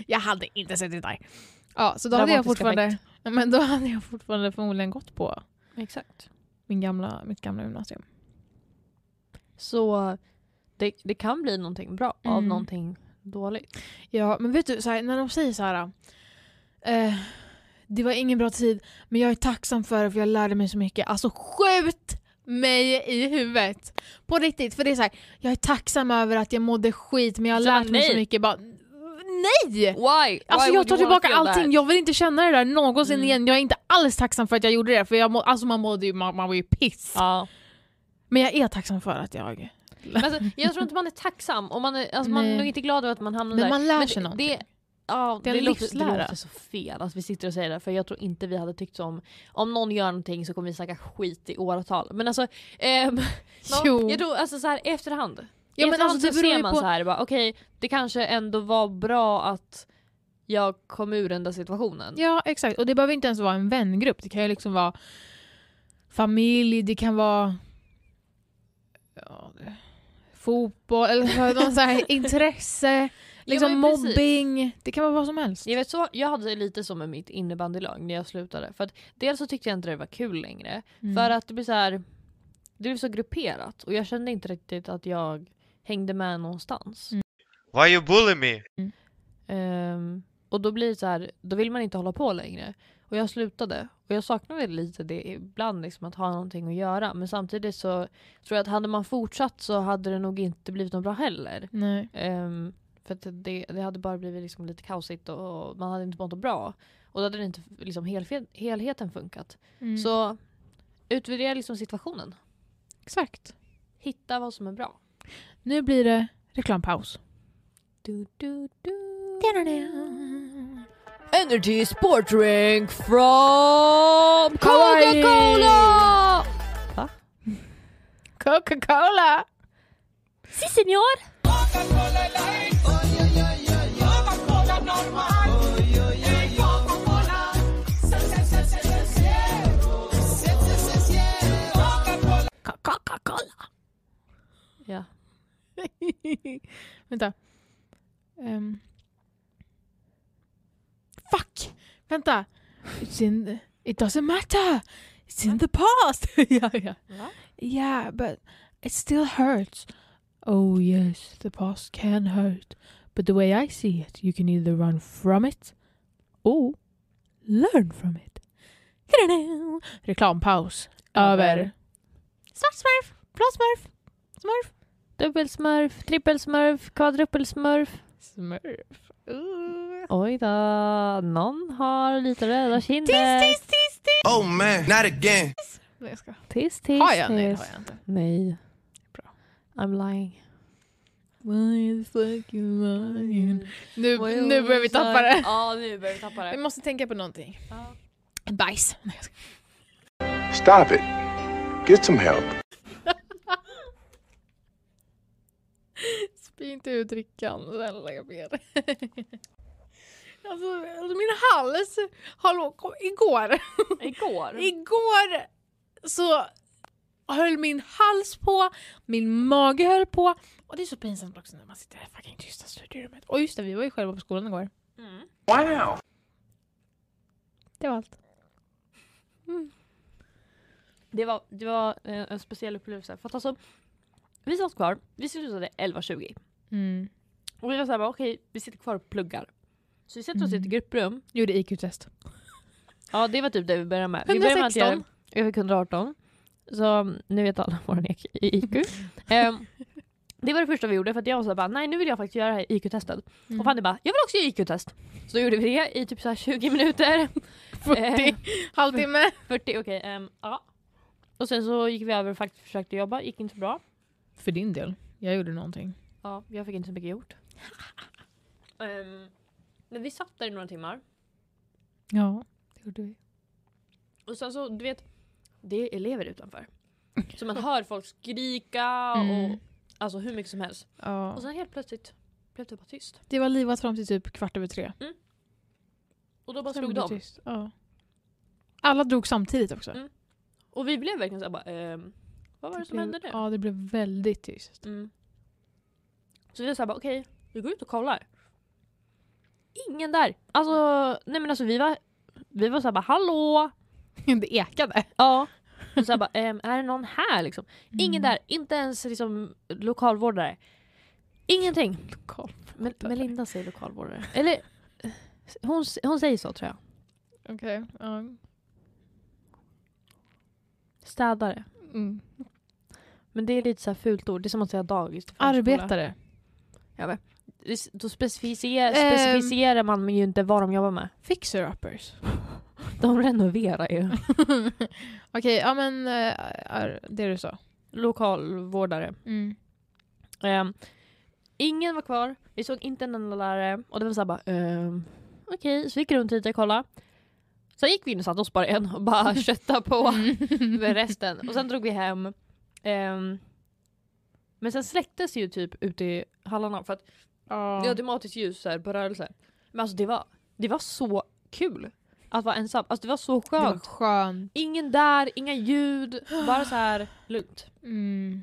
Speaker 2: jag hade inte suttit där. Ja, så då hade jag
Speaker 1: Dramatisk
Speaker 2: fortfarande, Ja, *laughs* men då hade jag fortfarande förmodligen gått på
Speaker 1: Exakt.
Speaker 2: min gamla, mitt gamla gymnasium.
Speaker 1: Så det, det kan bli någonting bra av
Speaker 2: Mm.
Speaker 1: någonting dåligt.
Speaker 2: Ja, men vet du, så här, när de säger så här... Eh, det var ingen bra tid, men jag är tacksam för det för jag lärde mig så mycket. Alltså skjut mig i huvudet! På riktigt, för det är så här, jag är tacksam över att jag mådde skit men jag har
Speaker 1: Så bara,
Speaker 2: lärt mig så
Speaker 1: nej.
Speaker 2: mycket. Bara, nej!
Speaker 1: Why?
Speaker 2: Alltså
Speaker 1: Why would
Speaker 2: jag tar
Speaker 1: you wanna
Speaker 2: tillbaka
Speaker 1: feel that?
Speaker 2: allting, jag vill inte känna det där någonsin
Speaker 1: Mm.
Speaker 2: igen. Jag är inte alls tacksam för att jag gjorde det, för jag må, alltså man, mådde ju, man, man var ju piss.
Speaker 1: Ja.
Speaker 2: Men jag är tacksam för att jag...
Speaker 1: Men alltså, jag tror inte man är tacksam, och man är, alltså, man är
Speaker 2: Nej.
Speaker 1: nog inte glad över att man hamnar
Speaker 2: Men
Speaker 1: där.
Speaker 2: man lär
Speaker 1: Men
Speaker 2: sig
Speaker 1: det-
Speaker 2: någonting.
Speaker 1: Det, ja,
Speaker 2: Det
Speaker 1: det,
Speaker 2: är en
Speaker 1: låter,
Speaker 2: livslära.
Speaker 1: det låter så fel att vi sitter och säger det, för jag tror inte vi hade tyckt om... Om någon gör någonting så kommer vi snacka skit i åratal. Men alltså... ehm,
Speaker 2: *laughs* Jo.
Speaker 1: man, jag tror alltså så här efterhand.
Speaker 2: Ja, men
Speaker 1: efterhand
Speaker 2: alltså, det
Speaker 1: så
Speaker 2: beror
Speaker 1: ser
Speaker 2: ju
Speaker 1: man
Speaker 2: på...
Speaker 1: så här, bara, okej, det kanske ändå var bra att jag kom ur den där situationen.
Speaker 2: Ja, exakt. Och det behöver inte ens vara en vängrupp. Det kan ju liksom vara familj, det kan vara ja, det- fotboll, eller någon
Speaker 1: *laughs*
Speaker 2: så här intresse, liksom
Speaker 1: men precis.
Speaker 2: mobbing. Det kan vara vad som helst.
Speaker 1: Jag, vet, så, jag hade lite så med mitt innebandylag när jag slutade. För att dels så tyckte jag inte det var kul längre.
Speaker 2: Mm.
Speaker 1: För att det blir så här, det blir så grupperat och jag kände inte riktigt att jag hängde med någonstans.
Speaker 2: Mm.
Speaker 3: Why you bully me?
Speaker 1: Ehm, och då blir det så här, då vill man inte hålla på längre. Och jag slutade. Och jag saknade lite det ibland, liksom, att ha någonting att göra. Men samtidigt så tror jag att hade man fortsatt så hade det nog inte blivit något bra heller.
Speaker 2: Nej.
Speaker 1: Ehm, för att det, det hade bara blivit liksom lite kaosigt och, och man hade inte mått bra. Och då hade det inte liksom, helfe- helheten funkat.
Speaker 2: Mm.
Speaker 1: Så utvärdera liksom situationen.
Speaker 2: Exakt.
Speaker 1: Hitta vad som är bra.
Speaker 2: Nu blir det reklampaus.
Speaker 1: Du, du, du. Energy sport drink from
Speaker 2: Hawaii.
Speaker 1: Coca-Cola!
Speaker 2: Coca-Cola!
Speaker 1: Si senor!
Speaker 2: Coca-Cola! *laughs*
Speaker 1: Ja.
Speaker 2: Vänta. Ehm. Fuck! Vänta. It's in the, it doesn't matter. It's in the past. *laughs* ja, ja.
Speaker 1: Va?
Speaker 2: Yeah, but it still hurts. Oh yes, the past can hurt. But the way I see it, you can either run from it or learn from it. Ta-da-da! Reklampaus. Över.
Speaker 1: Över.
Speaker 2: Svart smurf, blå smurf, smurf.
Speaker 1: Dubbelsmurf, trippelsmurf, kvadruppelsmurf.
Speaker 2: Smurf. Ooh.
Speaker 1: Oj då, någon har lite röda kinder.
Speaker 2: Tis, tis, tis, tis!
Speaker 5: Oh man, not again.
Speaker 2: Nej, jag ska.
Speaker 1: tis, tis.
Speaker 2: Har jag? Nej, det har jag inte.
Speaker 1: Nej.
Speaker 2: Bra.
Speaker 1: I'm lying.
Speaker 2: Why the fuck you lying? Nu, nu börjar vi tappa det.
Speaker 1: Mm. Ja, nu börjar vi tappa
Speaker 2: Vi
Speaker 1: det.
Speaker 2: måste tänka på någonting. Bajs. Nej, jag ska.
Speaker 5: Stop it. Get some help.
Speaker 2: Spy inte ut drickan. Snälla, jag ber. Alltså, alltså min hals. Hallå, kom, igår.
Speaker 1: Igår.
Speaker 2: Igår så höll min hals på, min mage höll på. Och det är så pinsamt också när man sitter här i fucking tysta studierummet. Och just det, vi var ju själva på skolan igår.
Speaker 1: Mm.
Speaker 5: Wow.
Speaker 2: Det var allt.
Speaker 1: Det var, det var eh, en speciell upplevelse. För att alltså, vi satt kvar, vi slutade 11.20.
Speaker 2: Mm.
Speaker 1: Och vi var såhär, bara, okej vi sitter kvar och pluggar. Så vi sätter oss i
Speaker 2: Mm.
Speaker 1: ett grupprum.
Speaker 2: Gjorde IQ-test.
Speaker 1: Ja det var typ det vi började med. Vi började med att jag,
Speaker 2: 116.
Speaker 1: jag fick 118. Så mm, nu vet alla *laughs* vår IQ. *laughs* Ehm, det var det första vi gjorde för att jag var såhär, bara, nej nu vill jag faktiskt göra det här IQ-testet.
Speaker 2: Mm.
Speaker 1: Och Fanny bara, jag vill också göra IQ-test. Så då gjorde vi det i typ så här 20 minuter. *laughs*
Speaker 2: 40, halvtimme.
Speaker 1: 40, okej. ehm, ja. Och sen så gick vi över och faktiskt försökte jobba, gick inte så bra.
Speaker 2: För din del. Jag gjorde någonting.
Speaker 1: Ja, jag fick inte så mycket gjort. *laughs* Ehm, men vi satt där i några timmar.
Speaker 2: Ja, det gjorde vi.
Speaker 1: Och sen så, du vet, det är elever utanför. Så *laughs* man hör folk skrika och
Speaker 2: Mm.
Speaker 1: alltså hur mycket som helst.
Speaker 2: Ja.
Speaker 1: Och sen helt plötsligt blev det bara tyst.
Speaker 2: Det var livat fram till typ kvart över tre.
Speaker 1: Och då bara
Speaker 2: Sen
Speaker 1: slog
Speaker 2: blev det
Speaker 1: de.
Speaker 2: tyst. Ja. Alla drog samtidigt också.
Speaker 1: Mm. Och vi blev verkligen såhär bara, ehm, vad var det som
Speaker 2: blev,
Speaker 1: hände nu?
Speaker 2: Ja, det blev väldigt tyst. *laughs*
Speaker 1: Mm. Så vi var såhär bara, okej, vi går ut och kollar. Ingen där! Alltså, nej men alltså vi var, vi var såhär bara, hallå!
Speaker 2: det ekade.
Speaker 1: Ja. Och så här bara, ehm, är det någon här liksom? Ingen
Speaker 2: Mm.
Speaker 1: där, inte ens liksom lokalvårdare. Ingenting.
Speaker 2: Lokal.
Speaker 1: Men, Melinda säger lokalvårdare. Eller eh, hon, hon säger så tror jag.
Speaker 2: Okej. ja.
Speaker 1: Städare.
Speaker 2: Mm.
Speaker 1: Men det är lite så här fult ord, det är som att säga dagis. till förskola.
Speaker 2: Arbetare.
Speaker 1: Ja, men det- då specificerar, specificerar man ju inte vad de jobbar med. *laughs*
Speaker 2: Fixer-uppers.
Speaker 1: De renoverar ju.
Speaker 2: Okej, ja men eh, är- det du sa.
Speaker 1: Lokalvårdare.
Speaker 2: Mm.
Speaker 1: Ehm, ingen var kvar, vi såg inte en enda lärare och det var såhär bara ehm, okej, så vi gick runt lite och kollade. Sen gick vi in och satte oss bara igen och bara köttade på med resten och sen drog vi hem. Ehm, men sen släcktes ju typ ute i hallarna för att det var
Speaker 2: Ja.
Speaker 1: automatiskt ljus så här, på rörelser. Men alltså det var, det var så kul att vara ensam, alltså det var så
Speaker 2: Det var
Speaker 1: skönt.
Speaker 2: skönt.
Speaker 1: Ingen där, inga ljud, bara så här lugnt.
Speaker 2: Mm.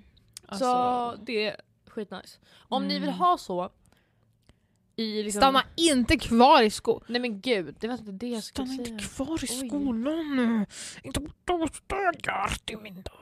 Speaker 1: Så
Speaker 2: Alltså,
Speaker 1: det är skitnice. Om ni vill
Speaker 2: Mm.
Speaker 1: ha så i liksom...
Speaker 2: Stanna inte kvar i skolan.
Speaker 1: Nej men gud, det var inte det jag skulle
Speaker 2: Stanna
Speaker 1: säga.
Speaker 2: inte kvar i
Speaker 1: Oj.
Speaker 2: skolan nu. Inte på torsdagar till min dag.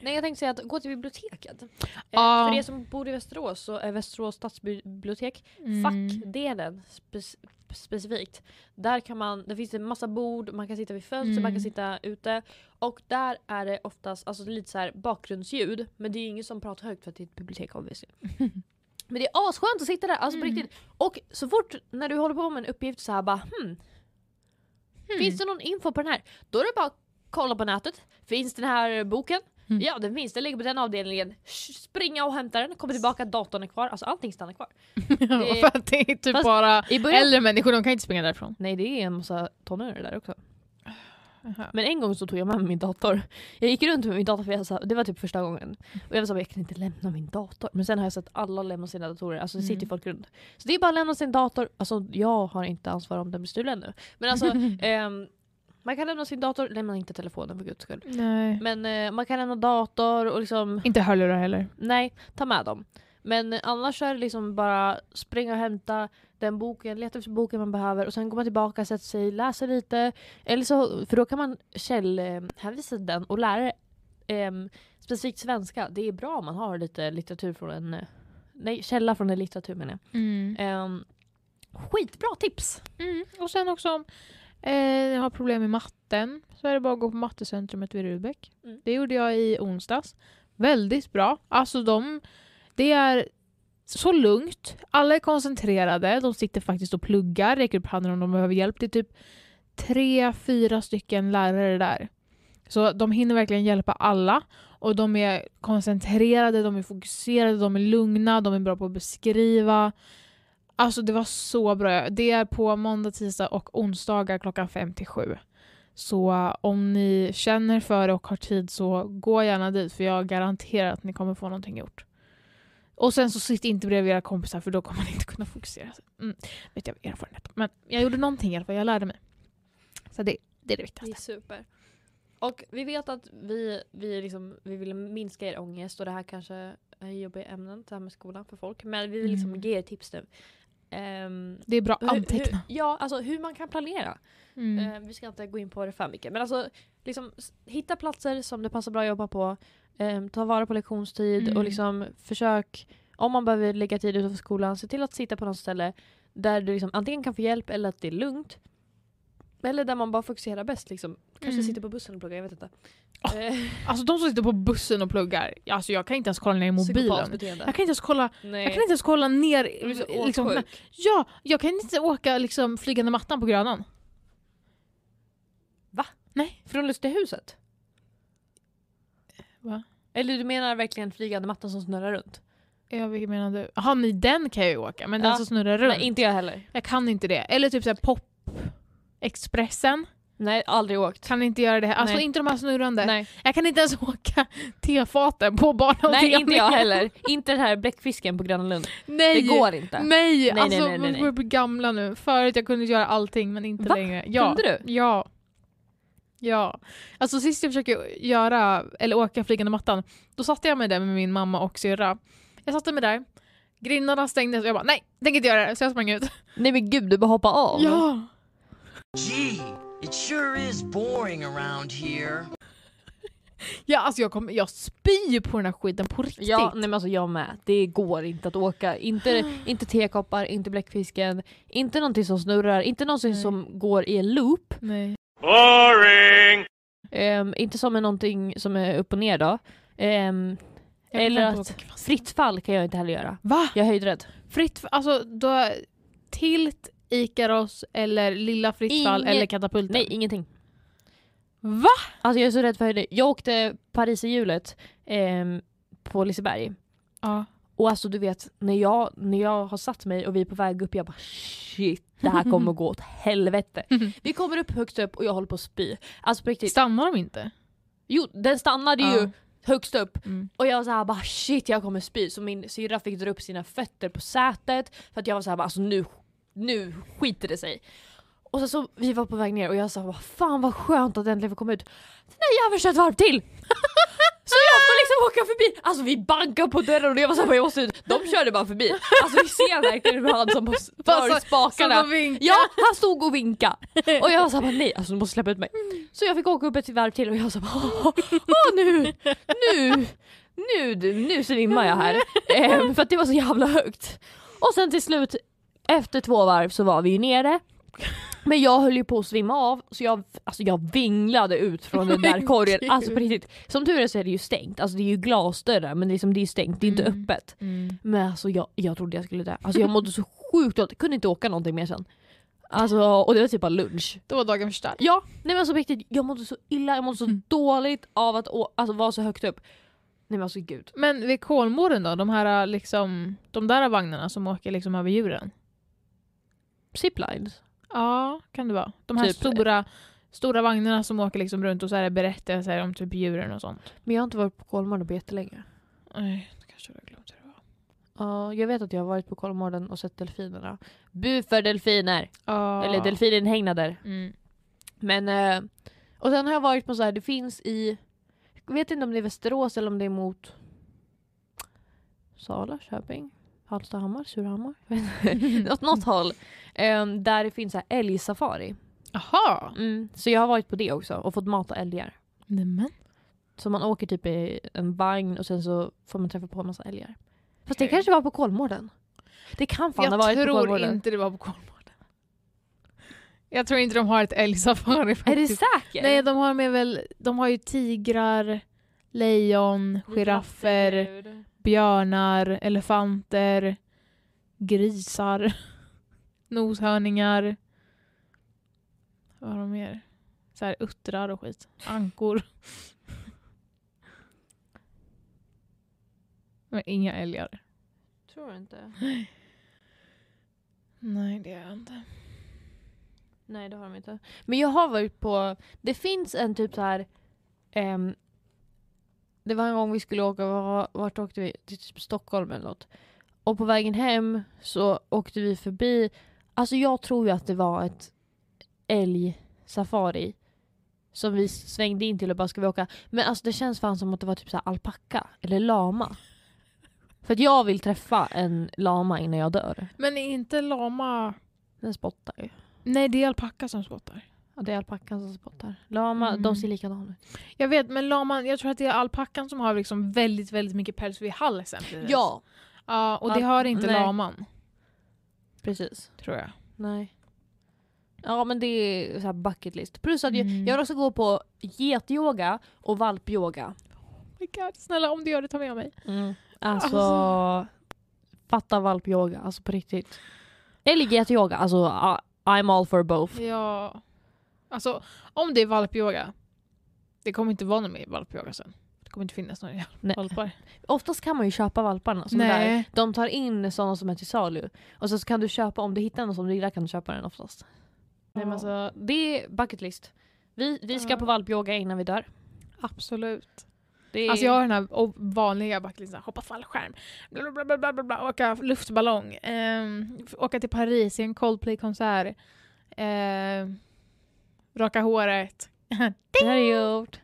Speaker 1: Nej jag tänkte säga att gå till biblioteket. Eh,
Speaker 2: Ja.
Speaker 1: För er som bor i Västerås så är Västerås stadsbibliotek
Speaker 2: Mm.
Speaker 1: fackdelen spe- specifikt. Där kan man, det finns en massa bord, man kan sitta vid fönster, man
Speaker 2: Mm.
Speaker 1: kan sitta ute. Och där är det oftast alltså, lite så här bakgrundsljud, men det är ju ingen som pratar högt för att det är ett bibliotek
Speaker 2: *laughs*
Speaker 1: obviously. men det är asskönt att sitta där, alltså på
Speaker 2: Mm.
Speaker 1: riktigt. Och så fort när du håller på med en uppgift så här bara hmm,
Speaker 2: *laughs*
Speaker 1: finns det
Speaker 2: Mm.
Speaker 1: någon info på den här? Då är det bara att kolla på nätet, finns den här boken?
Speaker 2: Mm.
Speaker 1: Ja den finns, den ligger på den avdelningen. Sh- Springa och hämta den, kommer tillbaka, datorn är kvar, alltså allting stannar kvar.
Speaker 2: Ja, för att det är typ
Speaker 1: Fast-
Speaker 2: bara
Speaker 1: I början
Speaker 2: äldre människor, de kan inte springa därifrån.
Speaker 1: Nej det är en massa tonåringar där också.
Speaker 2: Aha.
Speaker 1: Men en gång så tog jag med mig min dator. Jag gick runt med min dator för jag sa, det var typ första gången. Och jag var så här, jag kan inte lämna min dator. Men sen har jag sett alla lämna sina datorer, alltså det sitter ju
Speaker 2: Mm.
Speaker 1: folk runt. Så det är bara att lämna sin dator, alltså jag har inte ansvar om den blir stulen nu. Men *laughs*
Speaker 2: *laughs*
Speaker 1: alltså, ehm, man kan lämna sin dator, lämna inte telefonen för guds skull.
Speaker 2: Nej.
Speaker 1: Men eh, man kan lämna dator och liksom,
Speaker 2: Inte hörlurar heller.
Speaker 1: nej, ta med dem. Men eh, annars är det liksom bara springa och hämta den boken, leta efter boken man behöver och sen går man tillbaka, sätter sig, läser lite. Eller så, för då kan man källhänvisa den och lära eh, specifikt svenska. Det är bra om man har lite litteratur från en, eh, nej källa från en litteratur menar
Speaker 2: Mm.
Speaker 1: jag. Eh, skitbra tips!
Speaker 2: Och sen också om eh, jag har problem med matten så är det bara att gå på mattecentrumet vid Rudbeck.
Speaker 1: Mm.
Speaker 2: Det gjorde jag i onsdags. Väldigt bra. Alltså de, det är så lugnt. Alla är koncentrerade. De sitter faktiskt och pluggar, räcker upp handen om de behöver hjälp. Det är typ tre, fyra stycken lärare där. Så de hinner verkligen hjälpa alla. Och de är koncentrerade, de är fokuserade, de är lugna, de är bra på att beskriva. Alltså det var så bra. Det är på måndag, tisdag och onsdagar klockan 5 till 7. Så eh, om ni känner för det och har tid så gå gärna dit för jag garanterar att ni kommer få någonting gjort. Och sen så sitt inte bredvid era kompisar för då kommer ni inte kunna fokusera. Mm, vet jag av erfarenhet. Men jag gjorde någonting i alla fall, jag lärde mig. Så det, det är det
Speaker 1: Det är
Speaker 2: viktigaste.
Speaker 1: super. Och vi vet att vi, vi, liksom, vi vill minska er ångest och det här kanske är jobbiga ämnen, det här med skolan för folk. Men vi vill liksom
Speaker 2: Mm.
Speaker 1: ge er tips nu. Ehm,
Speaker 2: Det är bra,
Speaker 1: hur-
Speaker 2: anteckna.
Speaker 1: Hur, ja, alltså hur man kan planera.
Speaker 2: Mm.
Speaker 1: Ehm, vi ska inte gå in på det för mycket. Men alltså, liksom, s- hitta platser som det passar bra att jobba på. Ehm, ta vara på lektionstid
Speaker 2: Mm.
Speaker 1: och liksom försök, om man behöver lägga tid utanför skolan, se till att sitta på något ställe där du liksom antingen kan få hjälp eller att det är lugnt. Eller där man bara fokuserar bäst. Liksom. Kanske
Speaker 2: Mm.
Speaker 1: sitter på bussen och pluggar, jag vet inte.
Speaker 2: Ah,
Speaker 1: Eh, *laughs*
Speaker 2: Alltså de som sitter på bussen och pluggar, alltså jag kan inte ens kolla ner i mobilen.
Speaker 1: Psykopatbeteende.
Speaker 2: Jag kan inte ens kolla Jag kan
Speaker 1: Nej.
Speaker 2: inte ens kolla ner.
Speaker 1: Du är så
Speaker 2: Liksom,
Speaker 1: åksjuk.
Speaker 2: ja, jag kan inte åka liksom, flygande mattan på Grönan.
Speaker 1: Från Lustehuset?
Speaker 2: Va?
Speaker 1: Eller du menar verkligen flygande mattan som snurrar runt?
Speaker 2: Ja, vilken menar du? Jaha, nej den kan jag ju åka, men
Speaker 1: Ja.
Speaker 2: den som snurrar runt.
Speaker 1: Nej, inte jag heller.
Speaker 2: Jag kan inte det. Eller typ såhär pop-expressen.
Speaker 1: Nej, aldrig åkt.
Speaker 2: Kan inte göra det. Alltså
Speaker 1: Nej.
Speaker 2: inte de här snurrande.
Speaker 1: Nej,
Speaker 2: Jag kan inte ens *laughs* åka tefaten på barn
Speaker 1: nej inte
Speaker 2: *laughs*
Speaker 1: jag heller. inte den här bläckfisken på Gröna Lund.
Speaker 2: Nej,
Speaker 1: Det går inte.
Speaker 2: Nej,
Speaker 1: nej, nej,
Speaker 2: alltså
Speaker 1: nej, nej.
Speaker 2: vi börjar bli gamla nu. Förut jag kunde göra allting men inte
Speaker 1: Va?
Speaker 2: längre. Ja.
Speaker 1: Kunde du?
Speaker 2: Ja. Ja. Alltså sist jag försökte göra, eller åka flygande mattan, då satte jag mig där med min mamma och syrra. Jag satte mig där, grindarna stängdes och jag bara nej, tänker inte göra det. Så jag sprang ut.
Speaker 1: Nej men gud, du bara hoppa av.
Speaker 2: Ja.
Speaker 6: Gee, it sure is boring around here.
Speaker 2: Ja, alltså jag, kom, jag spyr på den här skiten på riktigt.
Speaker 1: Ja, nej men alltså jag med. Det går inte att åka. Inte,
Speaker 2: *gasps*
Speaker 1: inte tekoppar, inte bläckfisken, inte någonting som snurrar, inte någonting
Speaker 2: Nej.
Speaker 1: som går i en loop.
Speaker 2: Nej.
Speaker 3: Boring.
Speaker 1: Ehm, inte som är någonting som är upp och ner då. Ehm,
Speaker 2: Jag
Speaker 1: Eller
Speaker 2: gillar inte
Speaker 1: att-
Speaker 2: åka fast.
Speaker 1: Fritt fall kan jag inte heller göra.
Speaker 2: Va?
Speaker 1: Jag är höjdrädd.
Speaker 2: Fritt, alltså då, Tilt, Ikaros eller Lilla Fritt fall
Speaker 1: Inget-
Speaker 2: eller Katapulten?
Speaker 1: Nej, ingenting.
Speaker 2: Va?
Speaker 1: Alltså jag är så rädd för höjder. Jag åkte Paris i hjulet ehm, på Liseberg.
Speaker 2: Ja.
Speaker 1: Och alltså du vet, när jag, när jag har satt mig och vi är på väg upp, jag bara shit, det här kommer gå åt helvete. Vi kommer upp högst upp och jag håller på att spy. Alltså på riktigt.
Speaker 2: Stannar de inte?
Speaker 1: Jo, den stannade
Speaker 2: Ja.
Speaker 1: ju högst upp.
Speaker 2: Mm.
Speaker 1: Och jag var såhär bara shit jag kommer spy. Så min syrra fick dra upp sina fötter på sätet. För att jag var såhär bara alltså nu, nu skiter det sig. Och sen så vi var på väg ner och jag sa bara fan vad skönt att äntligen få komma ut. Den där jäveln kör ett varv till! *laughs* Så jag får liksom åka förbi, alltså vi bankar på dörren och jag var såhär jag måste ut. De körde bara förbi. Alltså vi ser verkligen hur han som bara
Speaker 2: Som-
Speaker 1: rör
Speaker 2: som
Speaker 1: spakarna.
Speaker 2: de vinkar.
Speaker 1: Ja, han stod och vinka Och jag var såhär bara, nej alltså du måste släppa ut mig. Så jag fick åka upp ett varv till och jag sa bara åh, åh nu, nu, nu, du, nu svimmar jag här. Ehm, för att det var så jävla högt. Och sen till slut, efter två varv så var vi ju nere. Men jag höll ju på att svimma av så jag, alltså jag vinglade ut från den där
Speaker 2: Men
Speaker 1: korgen.
Speaker 2: gud.
Speaker 1: Alltså på riktigt. Som tur är så är det ju stängt, alltså det är ju glasdörrar men liksom det är stängt, det är inte
Speaker 2: Mm.
Speaker 1: öppet.
Speaker 2: Mm.
Speaker 1: Men alltså jag, jag trodde jag skulle dö. Alltså jag mådde så sjukt dåligt, kunde inte åka någonting mer sen. Alltså, och det var typ bara lunch.
Speaker 2: Det var dagen förstörd.
Speaker 1: Ja, nej men alltså på riktigt, jag mådde så illa, jag mådde så
Speaker 2: Mm.
Speaker 1: dåligt av att å- alltså, vara så högt upp. Nej men alltså gud.
Speaker 2: Men vid Kolmården då, de här liksom, de där vagnarna som åker liksom över djuren?
Speaker 1: Ziplines.
Speaker 2: Ja, eh, kan det vara. De här
Speaker 1: Typ-
Speaker 2: stora, stora vagnarna som åker liksom runt och så är det berättelser om typ djuren och sånt.
Speaker 1: Men jag har inte varit på Kolmården på jättelänge.
Speaker 2: Nej, det kanske jag har glömt hur det var.
Speaker 1: Ja, jag vet att jag har varit på Kolmården och sett delfinerna. Bu för delfiner!
Speaker 2: Ja.
Speaker 1: Eller delfininhägnader.
Speaker 2: Mm.
Speaker 1: Men, eh, och sen har jag varit på så här, det finns i, jag vet inte om det är Västerås eller om det är mot Sala, Köping, Hallstahammar, Surahammar, Jag vet
Speaker 2: *laughs*
Speaker 1: inte. åt något håll. eh, där det finns så här älgsafari.
Speaker 2: Aha.
Speaker 1: Mm, så jag har varit på det också och fått mata älgar.
Speaker 2: Nämen.
Speaker 1: Så man åker typ i en vagn och sen så får man träffa på en massa älgar. Fast det
Speaker 2: Okej.
Speaker 1: kanske var på Kolmården. Det kan fan ha
Speaker 2: Jag
Speaker 1: varit på
Speaker 2: tror
Speaker 1: Kolmården.
Speaker 2: inte det var på Kolmården. Jag tror inte de har ett älgsafari
Speaker 1: Är du
Speaker 2: faktiskt.
Speaker 1: säker?
Speaker 2: Nej, de har med väl, de har ju tigrar, lejon, giraffer, björnar, elefanter, grisar, *laughs* noshörningar. Vad har de mer? Så här uttrar och skit. Ankor. *laughs* Men inga älgar.
Speaker 1: Tror inte.
Speaker 2: Nej, det är inte.
Speaker 1: Nej det har de inte. Men jag har varit på, det finns en typ så här. ehm, det var en gång vi skulle åka, var- vart åkte vi? Till typ Stockholm eller något. Och på vägen hem så åkte vi förbi, alltså jag tror ju att det var ett älgsafari. Som vi svängde in till och bara ska vi åka? Men alltså det känns fan som att det var typ så här alpacka eller lama. För att jag vill träffa en lama innan jag dör.
Speaker 2: Men är inte lama...
Speaker 1: Den spottar ju.
Speaker 2: Nej, det är alpacka som spottar.
Speaker 1: Ja, det är alpackan som spottar. Lama,
Speaker 2: Mm.
Speaker 1: de ser likadana ut.
Speaker 2: Jag vet, men laman, jag tror att det är alpackan som har liksom väldigt, väldigt mycket päls vid halsen. precis.
Speaker 1: Ja,
Speaker 2: Ja, och det
Speaker 1: Al-
Speaker 2: har inte
Speaker 1: nej.
Speaker 2: laman,
Speaker 1: precis.
Speaker 2: tror jag.
Speaker 1: Nej. Ja men det är så här bucket list. Plus att jag,
Speaker 2: Mm.
Speaker 1: jag vill också gå på getyoga och valpyoga.
Speaker 2: Oh my God, snälla om du gör det, ta med mig.
Speaker 1: Alltså,
Speaker 2: Alltså.
Speaker 1: fatta valpyoga, alltså på riktigt. Eller getyoga, alltså I- I'm all for both.
Speaker 2: Ja. Alltså, om det är valpyoga, det kommer inte vara någon mer valpyoga sen. Det kommer inte finnas några jävla
Speaker 1: Nej.
Speaker 2: valpar.
Speaker 1: Oftast kan man ju köpa valparna. Som där. De tar in sådana som är till salu. Och så kan du köpa, om du hittar någon som du gillar kan du köpa den oftast. Nej, men alltså, det är bucket list. Vi, vi ska
Speaker 2: Ja.
Speaker 1: på valpyoga innan vi dör.
Speaker 2: Absolut.
Speaker 1: Det är...
Speaker 2: Alltså jag har den här o- vanliga backlistan, hoppa fallskärm, bla bla bla bla bla, bla åka luftballong, ehm, f- åka till Paris se en Coldplay-konsert, ehm, raka håret. *laughs*
Speaker 1: Det här är gjort.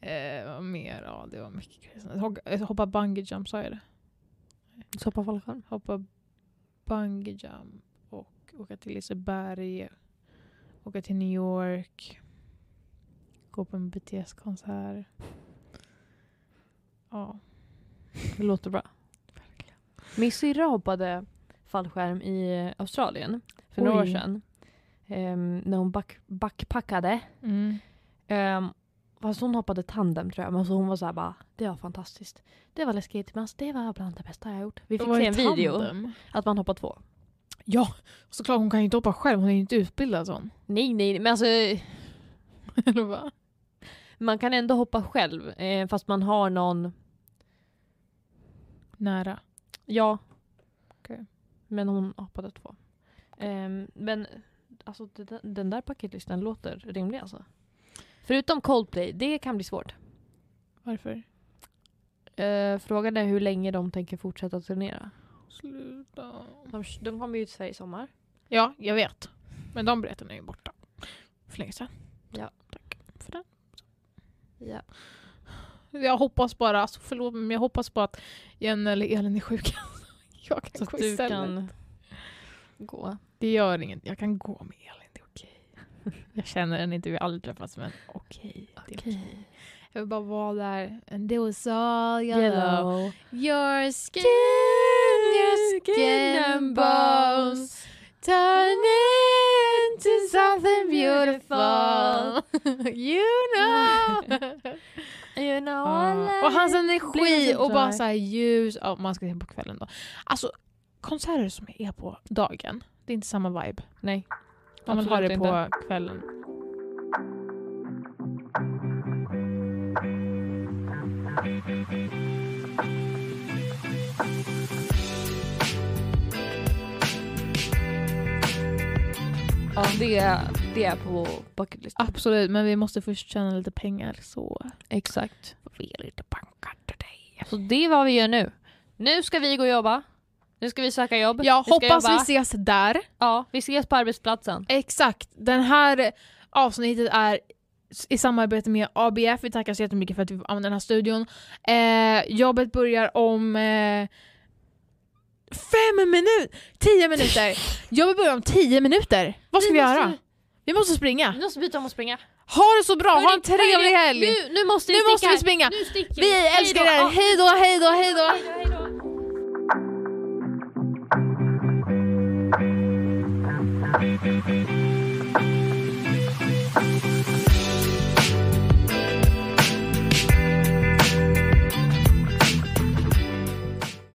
Speaker 2: Eh, vad mer? Ja, det var mycket grejer. Hoppa- Hoppa bungee jump, sa jag det?
Speaker 1: Soppa fallskärm.
Speaker 2: hoppa bungee jump och åka till Liseberg, åka till New York, gå på en BTS-konsert. Ja.
Speaker 1: Det låter bra. Min syrra hoppade fallskärm i Australien för några år
Speaker 2: Oj.
Speaker 1: sedan. Ehm, när hon back, backpackade.
Speaker 2: Mm.
Speaker 1: Ehm, Fast hon hoppade tandem tror jag, men så hon var såhär bara det var fantastiskt. Det var läskigt men alltså, det var bland det bästa jag har gjort. Vi fick
Speaker 2: var
Speaker 1: se
Speaker 2: i
Speaker 1: en video
Speaker 2: tandem.
Speaker 1: att man hoppar två.
Speaker 2: Ja, såklart hon kan ju inte hoppa själv, hon *laughs* är ju inte utbildad sån.
Speaker 1: Nej nej men alltså
Speaker 2: Eller vad?
Speaker 1: man kan ändå hoppa själv eh, fast man har någon,
Speaker 2: Nära.
Speaker 1: ja.
Speaker 2: Okej.
Speaker 1: Men hon hoppade två. Ehm, men alltså det där- den där paketlistan låter rimlig alltså. Förutom Coldplay, det kan bli svårt.
Speaker 2: Varför?
Speaker 1: Eh, frågan är hur länge de tänker fortsätta turnera.
Speaker 2: Sluta.
Speaker 1: De, de kommer ju till Sverige i sommar.
Speaker 2: Ja, jag vet. Men de biljetterna är ju borta. För länge sedan.
Speaker 1: Ja.
Speaker 2: Tack för den.
Speaker 1: Ja.
Speaker 2: Jag hoppas bara, alltså förlåt men jag hoppas bara att Jenny eller Elin är sjuka. *laughs* Jag kan
Speaker 1: Så
Speaker 2: gå
Speaker 1: att du
Speaker 2: istället.
Speaker 1: kan gå.
Speaker 2: Det gör inget, jag kan gå med Elin, det är *laughs* okej. Jag känner henne inte, vi har aldrig träffats men okej. det är okej. Jag vill bara vara där. And it was all yellow. Your skin, your skin and bones. Turn into something beautiful *laughs* You know *laughs* Ah.
Speaker 1: You know
Speaker 2: Och hans energi
Speaker 1: Blir
Speaker 2: och bara
Speaker 1: sådär.
Speaker 2: såhär ljus, ja, man ska se på kvällen då. Alltså konserter som är på dagen, det är inte samma vibe.
Speaker 1: Nej.
Speaker 2: Man vill ha
Speaker 1: Absolut
Speaker 2: det på kvällen.
Speaker 1: Ja, det är, det är på bucketlist.
Speaker 2: Absolut, men vi måste först tjäna lite pengar så
Speaker 1: Exakt.
Speaker 2: vi är lite bankar till dig.
Speaker 1: Så det är vad vi gör nu. Nu ska vi gå och jobba. Nu ska vi söka jobb.
Speaker 2: Jag
Speaker 1: vi ska
Speaker 2: hoppas vi
Speaker 1: jobba.
Speaker 2: ses där.
Speaker 1: Ja, vi ses på arbetsplatsen.
Speaker 2: Exakt. Den här avsnittet är s- i samarbete med ABF. Vi tackar så jättemycket för att vi får använda den här studion. Eh, jobbet börjar om eh, fem minuter!
Speaker 1: *laughs*
Speaker 2: Tio minuter! Jobbet börjar om tio minuter! Vad ska vi,
Speaker 1: Vi måste-
Speaker 2: göra? Vi måste springa.
Speaker 1: Vi måste byta om och springa.
Speaker 2: Ha det så bra, ha en
Speaker 1: Hörni, hörni,
Speaker 2: trevlig helg!
Speaker 1: Nu, nu måste vi
Speaker 2: Nu
Speaker 1: sticka.
Speaker 2: måste vi springa.
Speaker 1: Nu sticker vi.
Speaker 2: Vi
Speaker 1: Hej
Speaker 2: älskar
Speaker 1: då.
Speaker 2: er!
Speaker 1: Ja.
Speaker 2: Hej då, hej då, hej då!
Speaker 1: Hej då, hej då.